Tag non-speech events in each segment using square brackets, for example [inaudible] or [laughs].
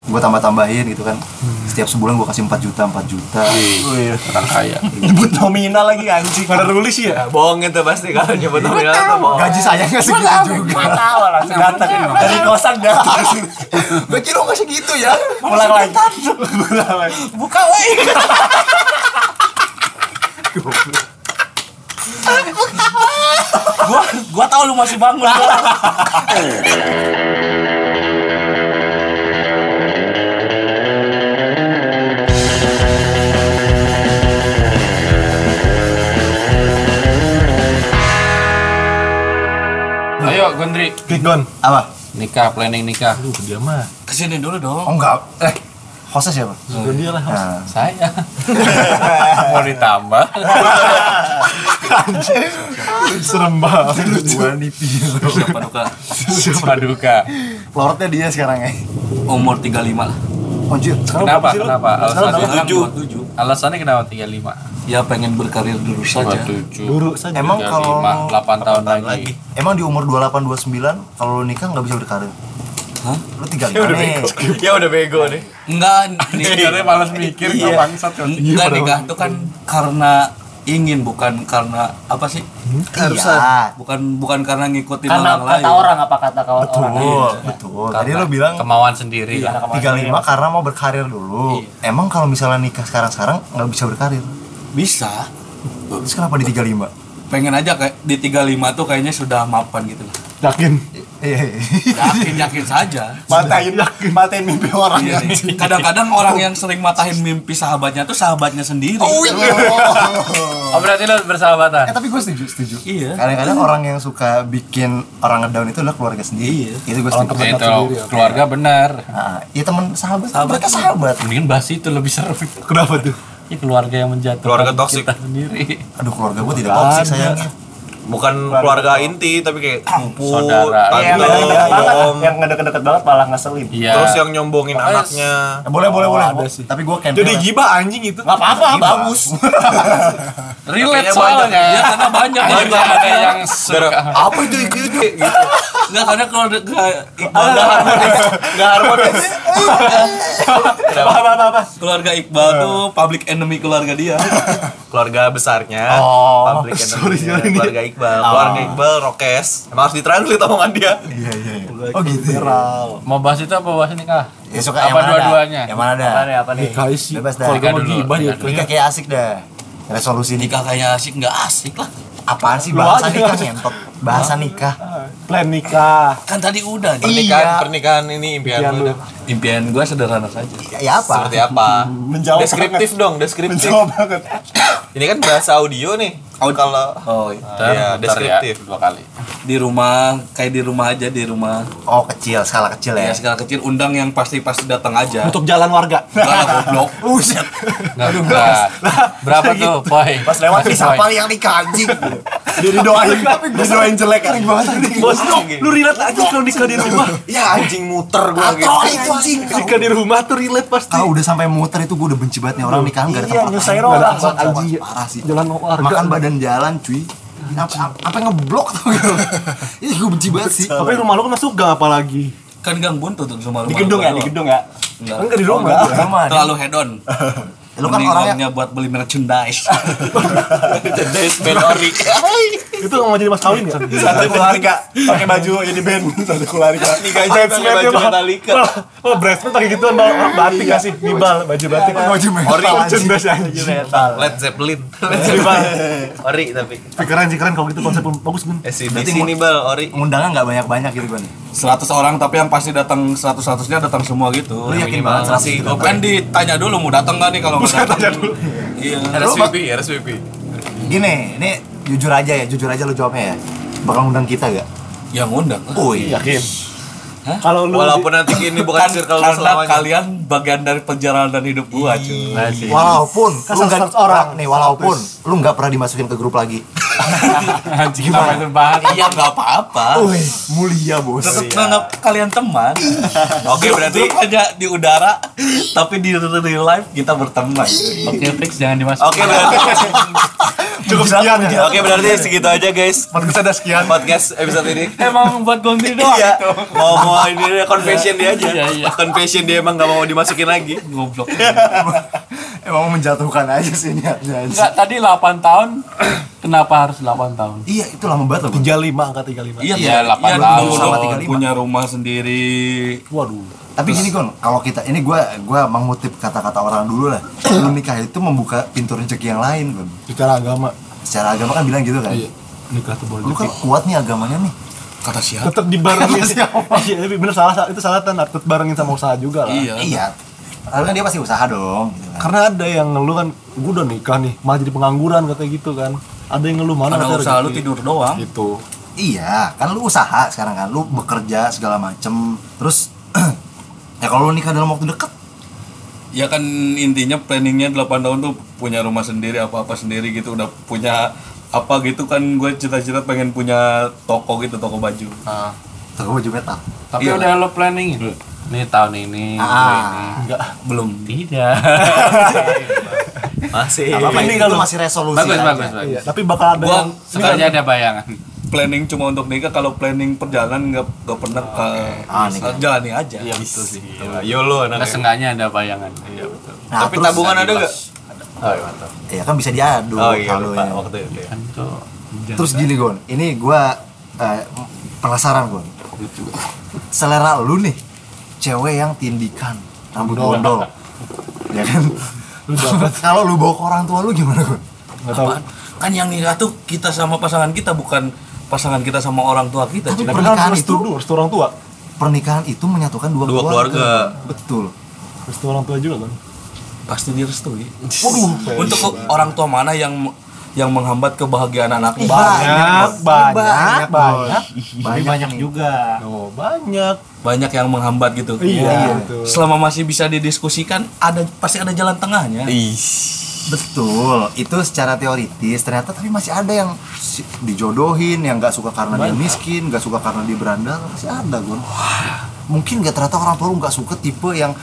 gue tambah-tambahin gitu kan setiap sebulan gue kasih 4 juta 4 juta Wih, orang kaya. nyebut nominal lagi anjing Mana rilis ya? bohong itu pasti kalau nyebut nominal itu bohong gaji saya nggak segitu juga tahu langsung datang dari kosan datang gue kira nggak segitu ya pulang lagi buka lagi gua gua tahu lu masih bangun gua. Ayo Gondri, Klik Gon. apa nikah, planning nikah. Aduh, dia mah. kesini dulu dong oh enggak eh hostnya siapa Gon dia lah. nah, Saya. [laughs] Mau ditambah. Serem banget. Gua nipis. siapa duka Paduka. lordnya dia sekarang ya umur 35 lah anjir sekarang Kenapa? sih lu? Kenapa? Sekarang Alasannya, sekarang tujuh. 27 alasannya kenapa 35? ya pengen berkarir dulu saja 27. Guru saja. Emang kalau 35, 8 tahun lagi. emang di umur 28 29 kalau lu nikah nggak bisa berkarir Hah? lu 35 nih ya udah bego nih. enggak nih Sebenarnya malas mikir Iya. nggak bangsat kan. enggak nikah itu kan karena ingin bukan karena apa sih keharusan bukan bukan karena ngikutin karena orang lain kata orang apa kata kawan orang betul betul iya. tadi lu bilang kemauan Iya. Iya, sendiri lah. 35 karena mau berkarir dulu. Emang kalau misalnya nikah sekarang-sekarang nggak bisa berkarir. bisa Terus kenapa di 35? pengen aja kayak di 35 tuh kayaknya sudah mapan gitu lah Yakin. Iya. yakin yakin saja matain matain mimpi orang Iya. kadang-kadang orang yang sering matahin mimpi sahabatnya tuh sahabatnya sendiri iya. Oh berarti lo Eh bersahabatan? tapi gue setuju, setuju. Iya. Kadang-kadang orang yang suka bikin orang ngedown itu adalah keluarga sendiri. Iya. Itu gue setuju. Ya, itu keluarga benar. Nah, ya teman sahabat, Sahabat. mereka sahabat. Mendingan bahas itu lebih seru. Kenapa tuh? Ini keluarga yang menjatuhkan Keluarga toksik. kita sendiri. Aduh keluarga gue tidak toksik sayang. Iya, Bukan keluarga inti tapi kayak sepupu, Saudara. yang tante, iya, deket-deket banget om. yang deket-deket banget malah ngeselin Iya. Terus yang nyombongin anaknya. Ya, boleh, boleh, boleh. ada sih. Tapi gue cancel. Jadi gibah anjing itu. nggak apa-apa bagus Kayaknya relate banyak. soalnya. ya karena banyak Banyak ada yang suka. Apa itu itu itu gitu. nggak karena kalau de- nggak Iqbal nggak harmonis nggak harmonis apa apa apa, apa keluarga Iqbal tuh public enemy keluarga dia Keluarga besarnya, Oh, public enemy-nya, sorry, sorry. Oh. keluarga Iqbal, keluarga Iqbal, Rokes. Emang harus ditranslate omongan dia. Iya, iya, iya. Oh gitu. Mau bahas itu apa bahas nikah? Ya suka Apa yang mana dua-duanya? Eh, Ada. Yang mana ada? apa nih apa nih Kai sih. Bebas dah. Kalau Nikah mau dulu, gibah dia nikah dulu. Nikah kayak asik dah. Resolusi nikah. [laughs] nikah kayak asik nggak asik lah Apaan sih Lu bahasa aja. nikah ngentot? Bahasa nikah. plan nikah. kan tadi udah nih Pernikahan, Iya. pernikahan ini impian Impian lu. lu. dah. impian gue sederhana saja Ya, ya apa? Seperti [laughs] apa? Menjawab deskriptif dong, deskriptif. menjawab banget [coughs] Ini kan bahasa audio nih. Kalau oh Bentar, Iya, bentar deskriptif. dua kali. di rumah kayak di rumah aja di rumah Oh kecil, skala kecil ya. ya segala kecil undang yang pasti pasti datang aja Untuk jalan warga. Enggak lah goblok Buset. Enggak enggak. Berapa tuh, Boy? [laughs] Pas lewat Kasih nih poin. siapa yang nikah anjing. Dia didoain. didoain jelek kan. Bos, Bos lu, lu relate aja kalau nikah di rumah. Iya, [coughs] ya anjing muter gua gitu. Atroy itu anjing. Nikah di rumah tuh relate pasti. Ah udah sampai muter itu gue udah benci banget nih orang nikah enggak ada Iya, tempat. nyusahin Nggak ada orang, tempat, anjing. sama. Parah sih. Jalan warga. Makan badan jalan cuy. Apa, apa- apa yang ngeblok tau gitu. Ini gue benci banget sih. Tapi rumah lu kena suga apalagi. kan gang buntu tuh rumah di gedung ya di gedung ya Enggak di rumah. Rumah. terlalu head on Lu kan orangnya buat beli merchandise Itu nggak mau jadi mas kawin ya? satu keluarga pakai baju jadi band satu keluarga nikah pakai baju Metallica. Oh, bridesmaid pakai gituan bal orang batik kasih bibal baju batik. Baju metal, Ori anjing. merchandise anjing. [laughs] Led Zeppelin. Bibal. Ori tapi. Pikiran sih keren kalau gitu konsep bagus kan. Eh sini sini bal Ori. Undangan enggak banyak-banyak gitu kan. 100 orang tapi yang pasti datang 100 100-nya datang semua Lu gitu yakin banget sama masih sih. open. kan ditanya dulu mau datang gak nih kalau nggak datang Tanya dulu. iya RSVP, RSVP. Gini, ini jujur aja ya, jujur aja lu jawabnya ya. Bakal undang kita gak? yang undang Woi. Yakin. Hah? Kalau lu Walaupun nanti ini bukan kan circle karena lu selamanya. kalian bagian dari perjalanan hidup gua cuy Nah, Iya. Walaupun lu Kasar nggak seratus orang. nih, walaupun lu nggak pernah dimasukin ke grup lagi. Anjing apa itu bahas? iya nggak apa-apa Oh, Wih, mulia [laughs] bos. tetap iya. nganggap kalian [laughs] teman Oke, berarti Grup aja di udara tapi di real life kita berteman Oke, fix jangan dimasukin. Oke, berarti Cukup sekian ya. Oke berarti segitu aja guys Podcast ada sekian. podcast episode ini. Emang buat konten doang Iya, itu. mau mau ini dia confession dia aja. Iya, iya. Confession dia emang gak mau dimasukin lagi. Goblok. Emang menjatuhkan aja sih niatnya aja. Enggak, tadi 8 tahun. Kenapa harus 8 tahun? Iya, itu lama banget loh. 35 angka 35. Iya, Iya, iya, 8 dulu tahun sama dong, 35. punya rumah sendiri. Waduh. Tapi gini kon, kalau kita ini gue gua mengutip kata-kata orang dulu lah. Lu nikah itu membuka pintu rezeki yang lain kon. Secara agama Secara agama kan bilang gitu kan. nikah tuh boleh. Lu kan kuat nih agamanya nih. Kata siapa? Tetap dibarengin. Iya, tapi bener salah salah- itu salah tan tetap barengin sama usaha juga lah. Iya. Iya. Tapi kan dia pasti usaha dong. Gitu kan. Karena ada yang ngeluh kan, gue udah nikah nih, malah jadi pengangguran katanya gitu kan. Ada yang ngeluh mana Ada katanya usaha lu rezeki. tidur doang. Nah, Gitu. Iya, kan lu usaha sekarang kan, lu bekerja segala macem. Terus [clears throat] ya kalau lu nikah dalam waktu deket, Ya kan intinya planningnya 8 tahun tuh punya rumah sendiri apa-apa sendiri gitu udah punya apa gitu kan gue cita-cita pengen punya toko gitu toko baju Ah, tunggu baju metal. tapi udah lo planning gitu. Nih tahun ini, Iya. Ah. tahun ini. Enggak, belum. Tidak. Masih. Apa Iya, ini itu kalau- masih resolusi bagus, aja. bagus, bagus. Iya, tapi bakal ada gitu. Gua- yang Sebenarnya ada bayangan. planning cuma untuk nikah kalau planning perjalanan nggak nggak pernah ke Ah, nikah. jalani aja Iya, betul sih. Yolo Nah, anaknya. seenggaknya ada bayangan. Iya, betul. Nah, Tapi terus- tabungan ada nggak? Oh, iya, mantap. Ya kan bisa diadu Oh iya lupa halunya. waktu itu. ya. Kan itu Terus gini Gon, ini gua eh, penasaran Gon. Selera lu nih, cewek yang tindikan, rambut gondol. ya kan? [laughs] Kalau lu bawa ke orang tua lu gimana Gon? nggak tahu. Apaan? kan yang nikah tuh kita sama pasangan kita bukan pasangan kita sama orang tua kita Tapi Cik. Tapi kan pernikahan harus itu, dulu, restu orang tua. pernikahan itu menyatukan dua, Dua keluarga. Betul. Restu orang tua juga kan. pasti direstui Waduh, untuk orang tua mana yang yang menghambat kebahagiaan Iya. anaknya banyak, banyak, banyak, Bos. banyak. banyak, banyak juga. Oh, banyak. banyak yang menghambat gitu Iya, Iya. betul. selama masih bisa didiskusikan ada pasti ada jalan tengahnya Betul, itu secara teoritis ternyata tapi masih ada yang si- dijodohin, yang nggak suka karena dia miskin, nggak suka karena dia berandal, masih ada Gon. Mungkin nggak ternyata orang tua lu nggak suka tipe yang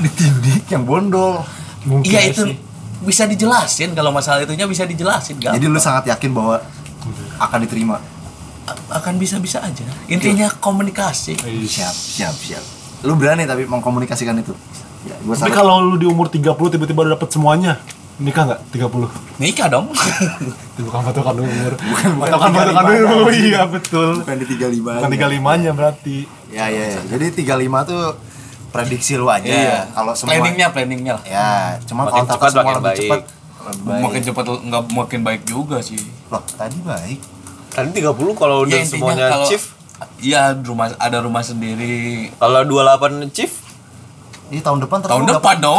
ditindik, yang bondol. Mungkin iya itu sih. bisa dijelasin kalau masalah itunya bisa dijelasin gak Jadi lu sangat yakin bahwa akan diterima. akan bisa-bisa aja intinya komunikasi Siap, Iya. siap, siap. Lu berani tapi mengkomunikasikan itu. Ya, gua Tapi salut. kalau lu di umur 30 tiba-tiba udah dapet semuanya, nikah nggak 30? nikah dong Itu bukan patokan umur. bukan bukan Patokan patokan 35 umur. aja. [laughs] Iya, betul. bukan di 35. Bukan Iya. aja. 35-nya berarti. Ya, ya, ya. Jadi 35 tuh prediksi lu aja. Iya, Kalau semua planningnya planningnya lah Ya, cuman Iya. Makin kalau tata cepat, semua makin lebih baik. cepat lebih baik. makin cepat nggak makin baik juga sih Loh, tadi baik. Tadi 30 Kan Iya, kalau udah Ya, intinya semuanya kalau- chief. Iya, rumah ada rumah sendiri. Kalau 28 chief Ini tahun depan terus Tahun lu depan dong. [laughs]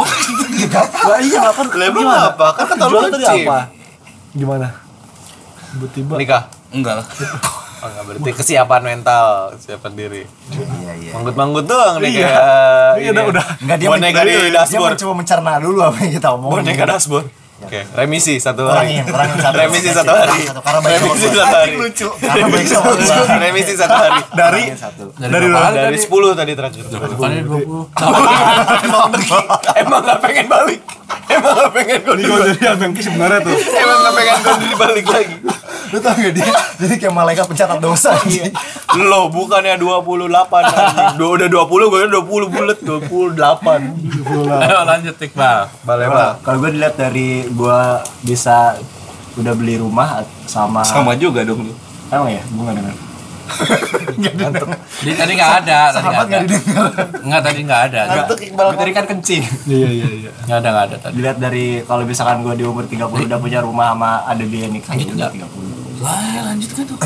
Lah iya, kan Lebih apa? Kan kata lu Tujuan tadi chief. apa? Gimana? Tiba-tiba Nikah. Enggak lah. Oh, enggak berarti kesiapan mental, kesiapan diri. dapat- Iya, iya. Manggut-manggut doang nih Iya. kayak Iya, ini udah- ya. udah. Enggak dia boneka ya. men- di ya. dia dashboard. mencoba mencerna dulu apa yang kita omongin. Boneka dashboard. Oke, remisi satu hari. Kurangin, kurangin satu. Remisi satu hari. Kurangin Satu, karena baik sama Remisi gua. satu hari. Karena baik sama gua. Remisi satu hari. Dari satu. dari berapa kali Dari tadi? 10 tadi terakhir. Bukannya 20. [laughs] Emang gak pengen balik. Emang gak pengen gue Ini kalau jadi abang Ki sebenarnya tuh [laughs] Emang gak pengen gue dibalik lagi. Lu tau gak dia? Jadi kayak malaikat pencatat dosa. Iya. Lo bukannya 28 anjing. Dua- Udah 20 gue 20 bulat 28. Iya. Ayo lanjut Iqbal. Balai Kalau- Kalau gue dilihat dari gue bisa udah beli rumah sama Sama juga dong lu. emang ya gue nggak dengar. Di, tadi nggak ada, tadi nggak ada. Nggak tadi nggak ada. Tadi kan kencing. Iya iya iya Nggak ada nggak ada tadi. Dilihat dari kalau misalkan gue di umur 30 udah punya rumah sama ada biaya nikah Lanjut gitu udah nggak? 30. Lah, lanjut kan tuh.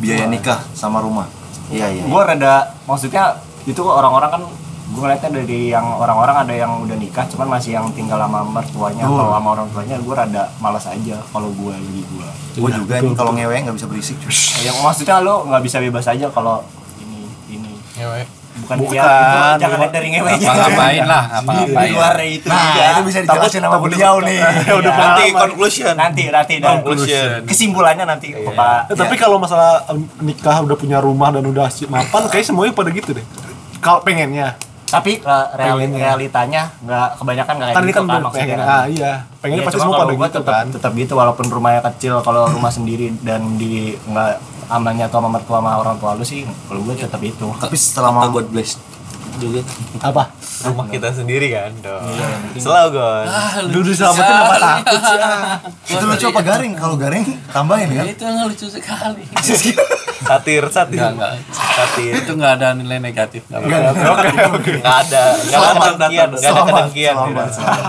Biaya nikah sama rumah. Iya, iya. Gue rada maksudnya itu orang-orang kan gue ngeliatnya dari yang orang-orang ada yang udah nikah cuman masih yang tinggal sama mertuanya atau sama orang tuanya gue rada malas aja kalau gue lagi gue Gue juga Iya, nih kalau ngewe nggak bisa berisik. Nah, cuy. Ya, yang maksudnya lo nggak bisa bebas aja kalau ini ini Ngewe. bukan, ya, itu jangan lihat dari ngewenya Apa ngapain lah, apa ngapain. itu Nah, itu bisa dijelasin sama beliau nih. udah Nanti conclusion. Iya, nanti nanti dah. Conclusion. kesimpulannya nanti bapak Eh, Tapi kalau masalah em, nikah udah punya rumah dan udah si- mapan Kayaknya semuanya pada gitu deh Kalau pengennya tapi uh, reali- Pengennya. realitanya nggak kebanyakan nggak kayak Tadi gitu kan kan udah maksudnya pengen, kan. ah iya. Pengennya Iya, pasti cuma semua kalau pada gua gitu tetap, kan. tetap gitu walaupun rumahnya kecil kalau rumah sendiri dan di nggak amannya tuh sama mertua sama orang tua lu sih kalau gue tetap itu Tapi setelah mau buat blast juga Apa? rumah kita sendiri kan dong selalu gon Duduk selamatin apa takut sih ah. itu lucu apa garing? Kalau garing tambahin ya. itu yang lucu sekali satir satir Enggak, enggak. satir itu nggak ada nilai negatif nggak apa-apa. nggak ada nggak ada kedengkian nggak ada kedengkian selamat, selamat.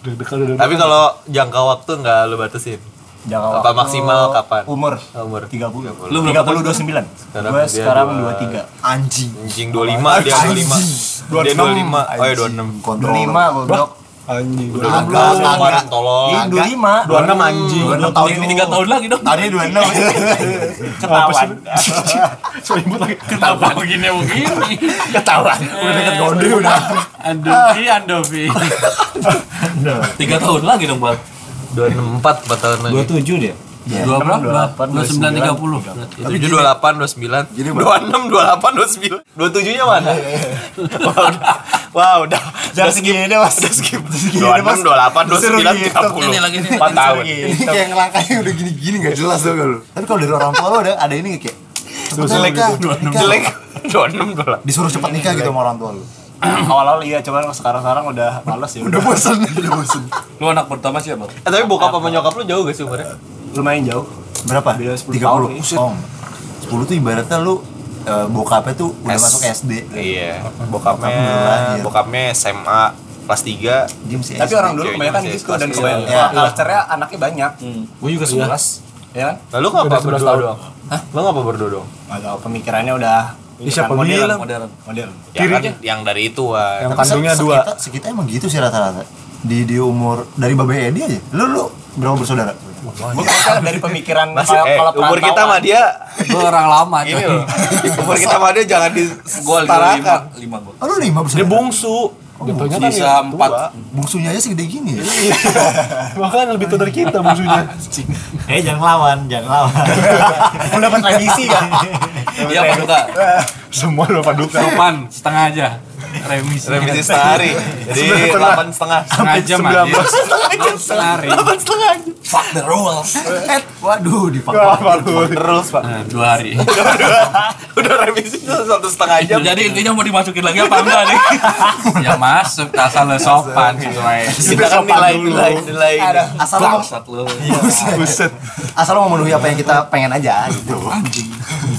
Deg-degan udah tapi kalau jangka waktu nggak lu batasin jangka apa maksimal kapan umur umur 30 Lu tiga puluh dua sembilan Sekarang gue dia sekarang dua- dua tiga Anjing. anjing 25 dia 25 dia 25 oh ya 26 Kontrol. dua lima goblok Anjing. udah Agak, lupa agak. kemarin tolong Ih, dua lima 26 anjing. 26 tahun ini tiga tahun lagi dong kan Tadi Iya. 26. ketahuan Seribut lagi. kenapa begini begini Eh, Ketawa. Udah dekat gonde udah. Andovi Andovi tiga tahun lagi dong bal 24 4 tahun lagi tujuh dia dua berapa dua sembilan tiga puluh 27, 28, 29, 26, 28, 29 27 nya mana? Wah udah Wah udah Jangan segini deh, Mas. Udah skip. Segini deh, Mas. 26, 28, Disuruh 29, dihitung. 30 Ini lagi, ini. 4 tahun Ini kayak ngelangkahnya udah gini-gini gak jelas tuh lu. Tapi kalau dari orang tua lu ada ada ini nggak, kayak cepet Disuruh nikah, nikah. Jelek 26, 28 Disuruh cepet nikah gitu sama orang tua lu. [clears throat] awal-awal iya cuman sekarang-sekarang udah males ya Udah bosen, udah bosen. lu anak pertama siapa Eh tapi bokap sama nyokap lu jauh gak sih umurnya? lumayan jauh Berapa? Beda 10 30. tahun, Buset. Om. 10 tuh ibaratnya lu eh, bokapnya tuh udah masuk SD. Iya Bokap belum lahir. Bokapnya Bokapnya SMA Kelas 3 Dia masih tapi Iya, SD. orang dulu Cewek kebanyakan masih gitu dan pasti. kebanyakan Iya. culture-nya anaknya banyak Hmm. Gua juga sebelas. ya kan Lalu ngapa Beda 11 berdua tahun. doang? Hah? Lu ngapa berdua doang? atau pemikirannya udah Ya, siapa modern, bilang? modern modern Ya kan yang dari itu Yang Wan kandungnya dua. Sekitar, sekitar emang gitu sih rata-rata. Di di umur dari babe Edi aja. Lu lu berapa bersaudara? Gua kira dari pemikiran Masih, kalau eh, kalau umur kita perantauan. mah dia gue orang lama Ini coy loh. [laughs] Umur kita mah dia jangan gua lima disetarakan. lima gua Oh, lu lima Dia bersaudara. bungsu. Jatuhnya kan sisa yang empat Iya, tua. bungsunya aja segede gini ya. Bahkan kan lebih tua dari kita bungsunya. Eh jangan lawan, jangan lawan. udah dapat tradisi kan iya apa enggak Semua lupa duka. sopan setengah aja remisi Remisi sehari. Jadi delapan setengah. setengah jam aja setengah hari fuck the rules Waduh, di Wah, baru. Terus pak. Nah, dua hari Eh, Udah remisi tuh satu setengah jam. jadi intinya mau dimasukin lagi apa enggak [laughs] nih ya masuk asal lo sopan gitu aja. Iya. Kita kan nilai nilai nilai. ini. asal lu Bangsat lu Buset. asal lu memenuhi apa yang kita pengen aja gitu.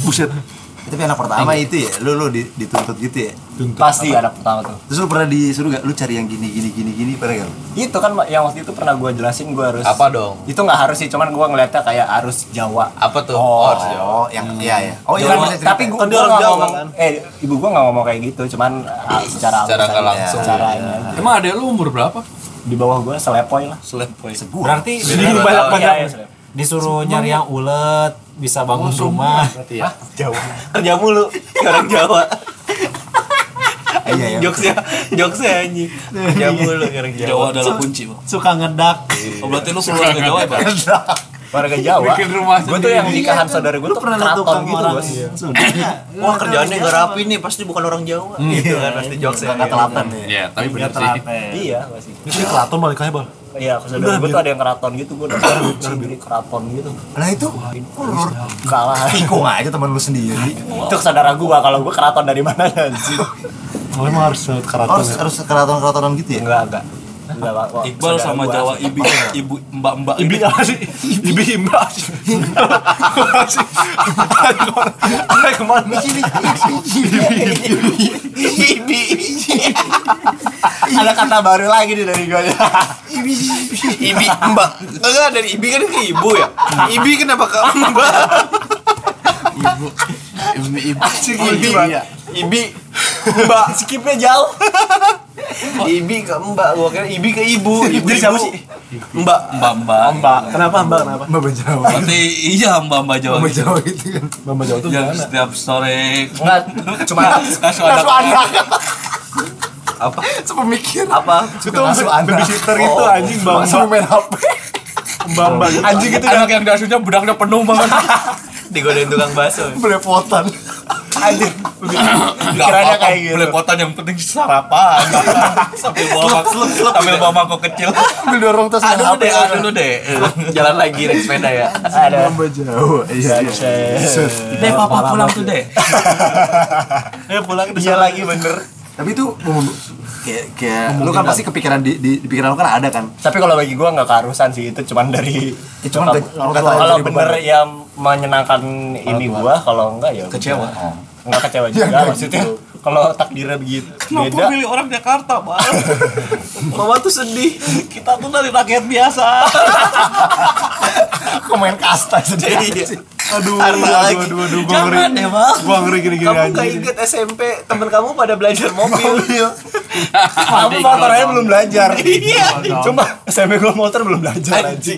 Buset. [laughs] Tapi anak pertama itu ya, lu lu di- dituntut gitu ya. pasti ada pertama tuh Terus lu pernah disuruh gak lu cari yang gini gini gini gini pernah gak? lu? itu kan yang waktu itu pernah gue jelasin gue harus Apa dong? itu nggak harus sih cuman gue ngeliatnya kayak arus Jawa Apa tuh? Oh, harus jawab. Oh, yang iya ya. Oh, iya Cuman- pernah cerita tapi ya? gue Kan dia orang Jawa, ngomong eh ibu gue nggak ngomong kayak gitu cuman ah, Secara secara halus nggak aja, langsung. secara ini aja. emang adek lu umur berapa di bawah gue selepoy lah slap boy Berarti Beda dua banyak tahun. banyak. Iya, iya, selepoy. disuruh nyari yang ulet, bisa bangun rumah. Kerja mulu. Orang Jawa. Eh, Iya ya. Jokesnya, jokesnya anjing. Kerja mulu orang Jawa. Jawa adalah kunci bang Suka ngedak. oh, berarti lu keluarga Jawa ya bang warga Jawa bikin rumah gue tuh yang nikahan saudara gue tuh Kan Pernah liat keraton tukang gitu orang bos Iya. Wah kerjaannya nggak rapi nih. Pasti bukan orang Jawa. Gitu kan pasti jokesnya. Enggak telaten ya. ya tapi bener sih Iya. iya pasti Ini kelaton balik aja, Bal. iya ke saudara gue tuh ada yang keraton gitu gue udah sendiri keraton gitu Lah itu horor. kalah Tikung aja teman lu sendiri. itu saudara gue kalau gue keraton dari mana [laughs] anjir Oh, emang harus lewat keraton Harus ya. harus keraton-keratonan gitu ya. enggak enggak Enggak, Pak. Wah, Iqbal saudara sama gua. Jawa ibu ibu mbak-mbak gitu. Ibi apa sih? Ibi imba sih. Apa sih? Ada kemana? ada kata baru lagi nih dari gue Ibi Mbak. Enggak dari Ibi kan ke ibu ya. Ibi kenapa ke Mbak? [laughs] Ibu. Ibu Ibu. Ibi. Ibi. Mbak. skipnya jauh [laughs] Ibi ke Mbak. Gua kira Ibi ke ibu. Ibu Jadi siapa sih? Mbak. mbak-mbak Mbak, kenapa Mbak? Kenapa? Mbak Jawa. berarti iya mbak-mbak Jawa Mbak gitu Jawa gitu kan. Mbak Jawa tuh yang gimana? setiap sore enggak cuma langsung ada Apa? Sepemikiran. Apa? Itu masuk babysitter gitu anjing Mbak. Langsung Oh. main HP. Mbak Mbak. anjing kan? gitu anak yang dasunya bedaknya penuh banget Digodain tukang bakso. Belepotan. anjir. Gak Pikirannya apa-apa, kayak gitu. belepotan yang penting [laughs] sarapan Sambil bawa, sambil bawa mangkok kecil Ambil dorong tas Aduh deh, aduh deh Jalan lagi naik sepeda ya. Ada. Tambah jauh. Iya. Set. Deh, papa pulang tuh deh Iya lagi bener. Tapi itu mem- kayak kayak lu kan pasti kepikiran di, di, di pikiran lu kan ada kan. Tapi kalau bagi gua nggak keharusan sih itu cuman dari Ya, cuman ke- orang tua aja kalau jadi bener beban. ya menyenangkan ini gua kalau enggak ya Kecewa. Oh. Enggak kecewa juga maksudnya. Kalau takdirnya begitu Kenapa beda. milih orang Jakarta, Bang? Mama tuh sedih. Kita tuh dari rakyat biasa Komen kasta Iya. Aduh, Harta aduh, lagi. aduh, aduh, gua ngeri. ya, Bang Gua ngeri gini-gini Kamu aja. nggak inget SMP temen kamu pada belajar mobil. Kamu motornya belum belajar. Iya. Cuma SMP gua motor belum belajar anjing.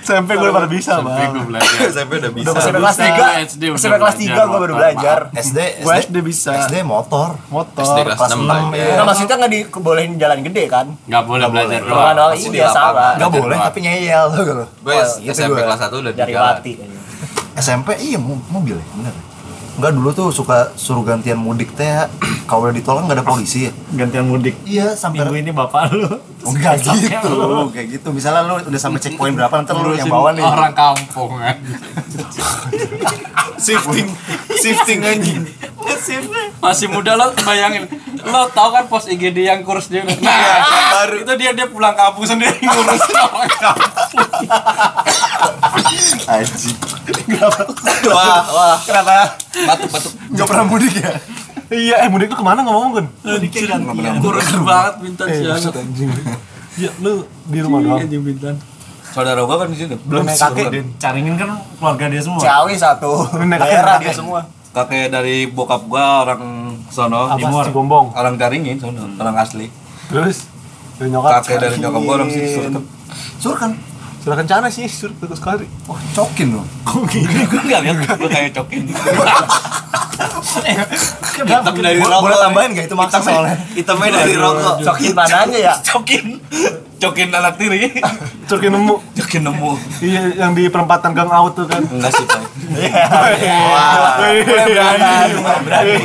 SMP gue udah pada bisa, Bang. gue belajar. SMP udah bisa. Udah SMP kelas Bisa, 3. SD udah SMP kelas belajar 3 gua baru motor, belajar. SD Gue SD bisa. SD motor. Motor. iya. SD kelas Kelas 6 enam, lah ya. ya. Nah, maksudnya nggak dibolehin jalan gede kan? Gak boleh belajar Bukan doang. hal Pasti ini di ya lapangan. salah. Gak boleh tapi ngeyel tuh kalau. Gue Wah, gitu SMP gua. kelas 1 udah di Dari jalan. mati. SMP iya mo- mobil ya bener Enggak dulu tuh suka suruh gantian mudik teh ya. [clears throat] kalau udah ditolong nggak ada polisi ya? Gantian mudik. Iya Minggu sampai ini bapak lu. enggak gitu kayak gitu misalnya lu udah sampai checkpoint berapa ntar lu yang Ngurusin bawa nih [laughs] Orang kampung kan. Shifting. Shifting anjing. Masih muda lo bayangin. Lo tau kan pos IGD yang kurs dia. Nah, baru itu dia dia pulang kampung sendiri ngurus orang kampung. Aji Wah, wah Kenapa? Batuk, batuk nggak pernah mudik ya Iya, eh mudik lu kemana ngomong kan? Eh, Anjir, kurus banget Bintan Eh, maksud siang. anjing. Ya, lu di rumah doang. Anjing Bintan. Saudara gua kan di sini Belum naik kakek, Din. Caringin kan keluarga dia semua. Ciawi satu. Nenek Daerah kakek. dia [laughs] semua. Kakek dari bokap gua orang sono Apa? Cigombong. Orang Caringin sono, orang asli [laughs] Terus dari nyokap. Kakek dari nyokap gua orang sini sono. sur kan Sudah kencana sih, sur bagus sekali. oh cokin lu Gua nggak lihat, gua kayak cokin Hitam dari Bo- rokok. boleh tambahin gak itu maksa soalnya Hitamnya dari rokok. Cokin mananya ya? Cokin Cokin anak tiri Curkin nemu. Cokin nemu Iya, yang di perempatan Gang Out tuh kan. Iya. Enggak sih, Pak Berani.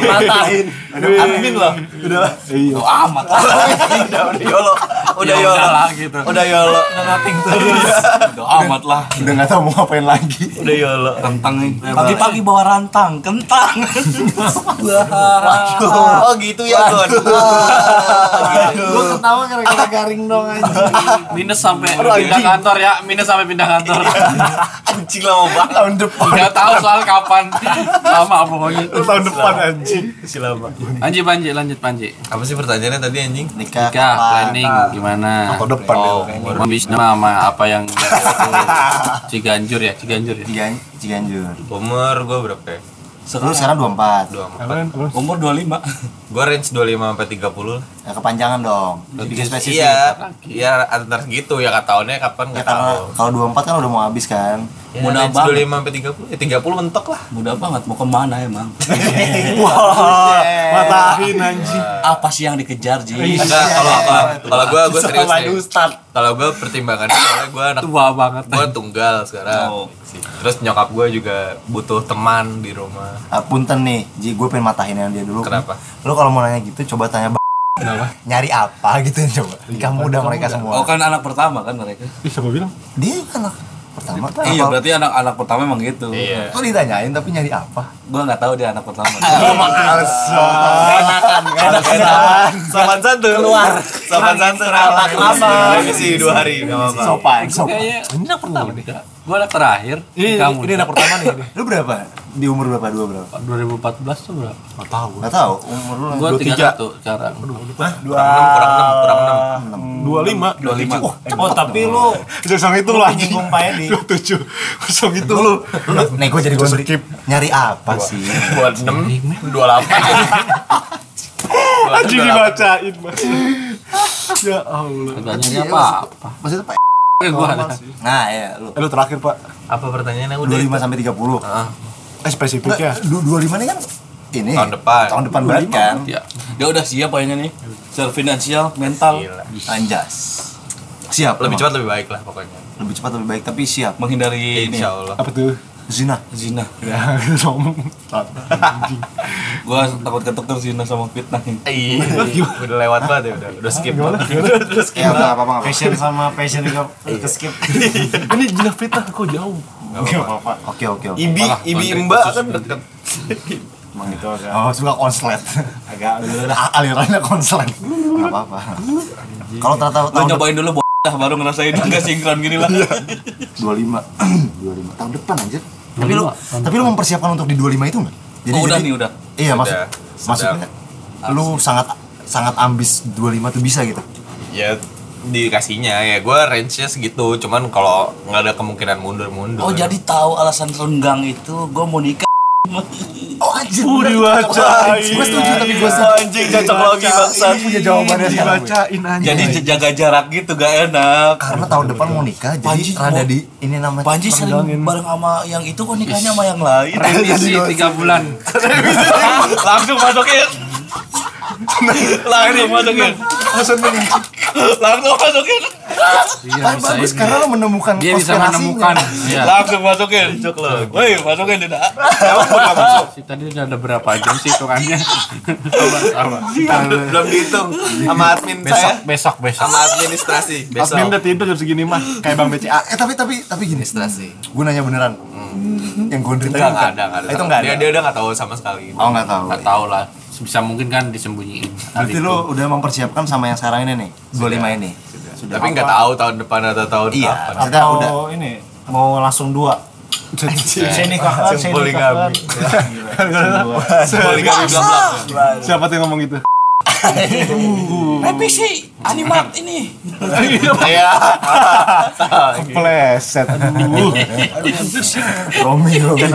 Matain. Admin loh. Iya. Udah lah. Iya. amat Udah [laughs] yolo. Udah yolo. lah gitu. Udah yolo. Udah amat lah udah nggak tahu mau Iya. ngapain lagi Udah yolo. Kentang nih Pagi-pagi bawa rantang, kentang. Oh gitu ya, Gon. gue ketawa gara-gara garing dong aja minus sampai pindah kantor ya, minus sampai pindah kantor. Anjing lama banget. tahun depan Gak tahu soal kapan. Lama pokoknya. Lu tahun depan anjing. Anji Panji lanjut Panji. Apa sih pertanyaannya tadi anjing? nikah Kak, planning gimana? tahun depan deh kayaknya Mau bisnis nama apa yang Ciganjur ya, Ciganjur ya. Cigan- Ciganjur Umur gue berapa ya? lu sekarang 24 24. Kalian terus. Umur 25 Gue range 25 sampai 30 lah. ya, kepanjangan dong bikin spesifik Iya, iya antar gitu ya kata tahunnya kapan ya nggak tahu. karena kalau 24 kan udah mau habis kan Ya, Mudah range banget. 25 sampai 30. Ya 30 mentok [laughs] lah. Mudah banget, mau kemana emang? Wah, matahin Ah, anjing. Apa sih yang dikejar, Ji? Enggak, kalau apa? Kalau gua gua serius Sama nih. Ustad. Kalau gua pertimbangannya soalnya gua anak Tua banget. gua tunggal sekarang. Oh. Terus nyokap gua juga butuh teman di rumah. Ah, punten nih, Ji, gue pengen matahin yang dia dulu. Kenapa? Lu kalau mau nanya gitu, coba tanya Kenapa? Nyari apa gitu [laughs] coba? Nikah muda mereka semua. Oh kan anak pertama kan mereka? Ih, siapa bilang? Dia kan anak pertama. Iya, Apa- berarti anak-anak pertama emang gitu. Iya. Kok ditanyain tapi nyari apa? Gua nggak tahu dia anak pertama. [laughs] Enakan, enakan. Sopan santun. Keluar. Sopan santun. Rapat lama. Revisi 2 hari enggak apa-apa. Sopan, sopan. Kayaknya anak pertama deh. Gua anak terakhir. Ini Kamu ini anak pertama nih. [laughs] ini. Lu berapa? Di umur berapa? Dua berapa? 2014 tuh berapa? Enggak tahu. Gak tau, umur lu Gua 31 sekarang. [laughs] Kurang 6, kurang 6, kurang 25. 25. Oh tapi lu Song itu [laughs] lu anjing. nyinggung Pak Edi. 27. Song itu lu. Lu nego jadi gondri Nyari apa sih? 6. Buat 6 28. Anjing dibacain, Mas. Ya Allah. Pertanyaannya apa? Iya, Maksudnya Pak Eh, Gua ada. [laughs] Nah ya, lu Eh, lu terakhir, Pak. Apa pertanyaannya udah? 25 sampai 30 Eh, spesifiknya. Du- 25 ini kan ini Tahun depan. Tahun depan banget kan? Ya. Dia udah siap kayaknya nih. Secara finansial, mental, Gila. Anjas Siap Lebih emang. cepat lebih baik lah pokoknya. Lebih cepat lebih baik, tapi siap menghindari ini Insya Allah. Apa tuh? [laughs] Zina zina. Ya, ngomong. Anjing. Gua takut ketuker zina sama fitnah ini. Iya, udah lewat banget ya udah, udah skip banget. Ya udah apa apa. Passion sama passion juga ke skip. [laughs] Ini jelas fitnah kok jauh. Gak apa-apa. Oke oke oke. Ibi, ibi mbak kan deket. Emang itu agak Oh suka [laughs] konslet. agak dulu dah. A- Alirannya konslet. Gak apa apa. Kalau ternyata Lu tahun nyobain dulu bocah baru [laughs] ngerasain enggak sinkron gini lah. Iya. [clears throat] 25 25 tahun depan anjir. Tapi lu tapi lu mempersiapkan untuk di 25 itu enggak? Oh, udah nih, udah. Iya maksud Sudah, maksudnya lu sangat sangat ambis 25 tuh bisa gitu. Ya dikasihnya ya gue range nya segitu cuman kalau nggak ada kemungkinan mundur mundur Oh jadi tahu alasan renggang itu gue mau nikah. Oh anjir. Udah baca. Gue setuju tapi gue setuju. anjing cocok lagi bangsa punya jawabannya sekarang. gue. Dibacain aja. Jadi j- jaga jarak gitu gak enak. Karena tahun depan mau nikah jadi Panji rada mau- di ini namanya Panji renggangin. sering bareng sama yang itu kok nikahnya sama yang lain. Iya, Revisi Iya, tiga bulan. Langsung ya. [laughs] masukin. Langsung masukin. Langsung meningkat. Langsung masukin. Iya, Kan bagus karena lo menemukan Dia bisa konspirasinya. menemukan. Iya. Langsung masukin. Cok lo. Woi, masukin tidak. Emang gua nggak masuk. Si tadi udah ada berapa jam sih Iya. hitungannya? Sabar, sabar. belum dihitung sama admin saya Besok, besok, besok. sama administrasi Admin besok udah tidur jam segini mah kayak Bang BCA. Ah, [laughs] eh tapi tapi tapi gini administrasi gue nanya beneran yang gondrin tadi bukan? Enggak, enggak ada, enggak ada. itu nggak ada Dia, dia udah enggak tahu sama sekali. oh nggak tahu Gak tau lah. Sebisa mungkin kan disembunyiin. berarti lo udah mempersiapkan sama yang sekarang ini nih 25 ini Tapi enggak tahu tahun depan atau tahun iya kapan. kita udah Eh, Mau ini mau langsung dua. Sini kakak, sini Poligami. kakak. Poligami belum Siapa tuh yang ngomong gitu? Revisi animat Hmm. ini. Iya. Iya. Kepleset. Aduh. Romeo kan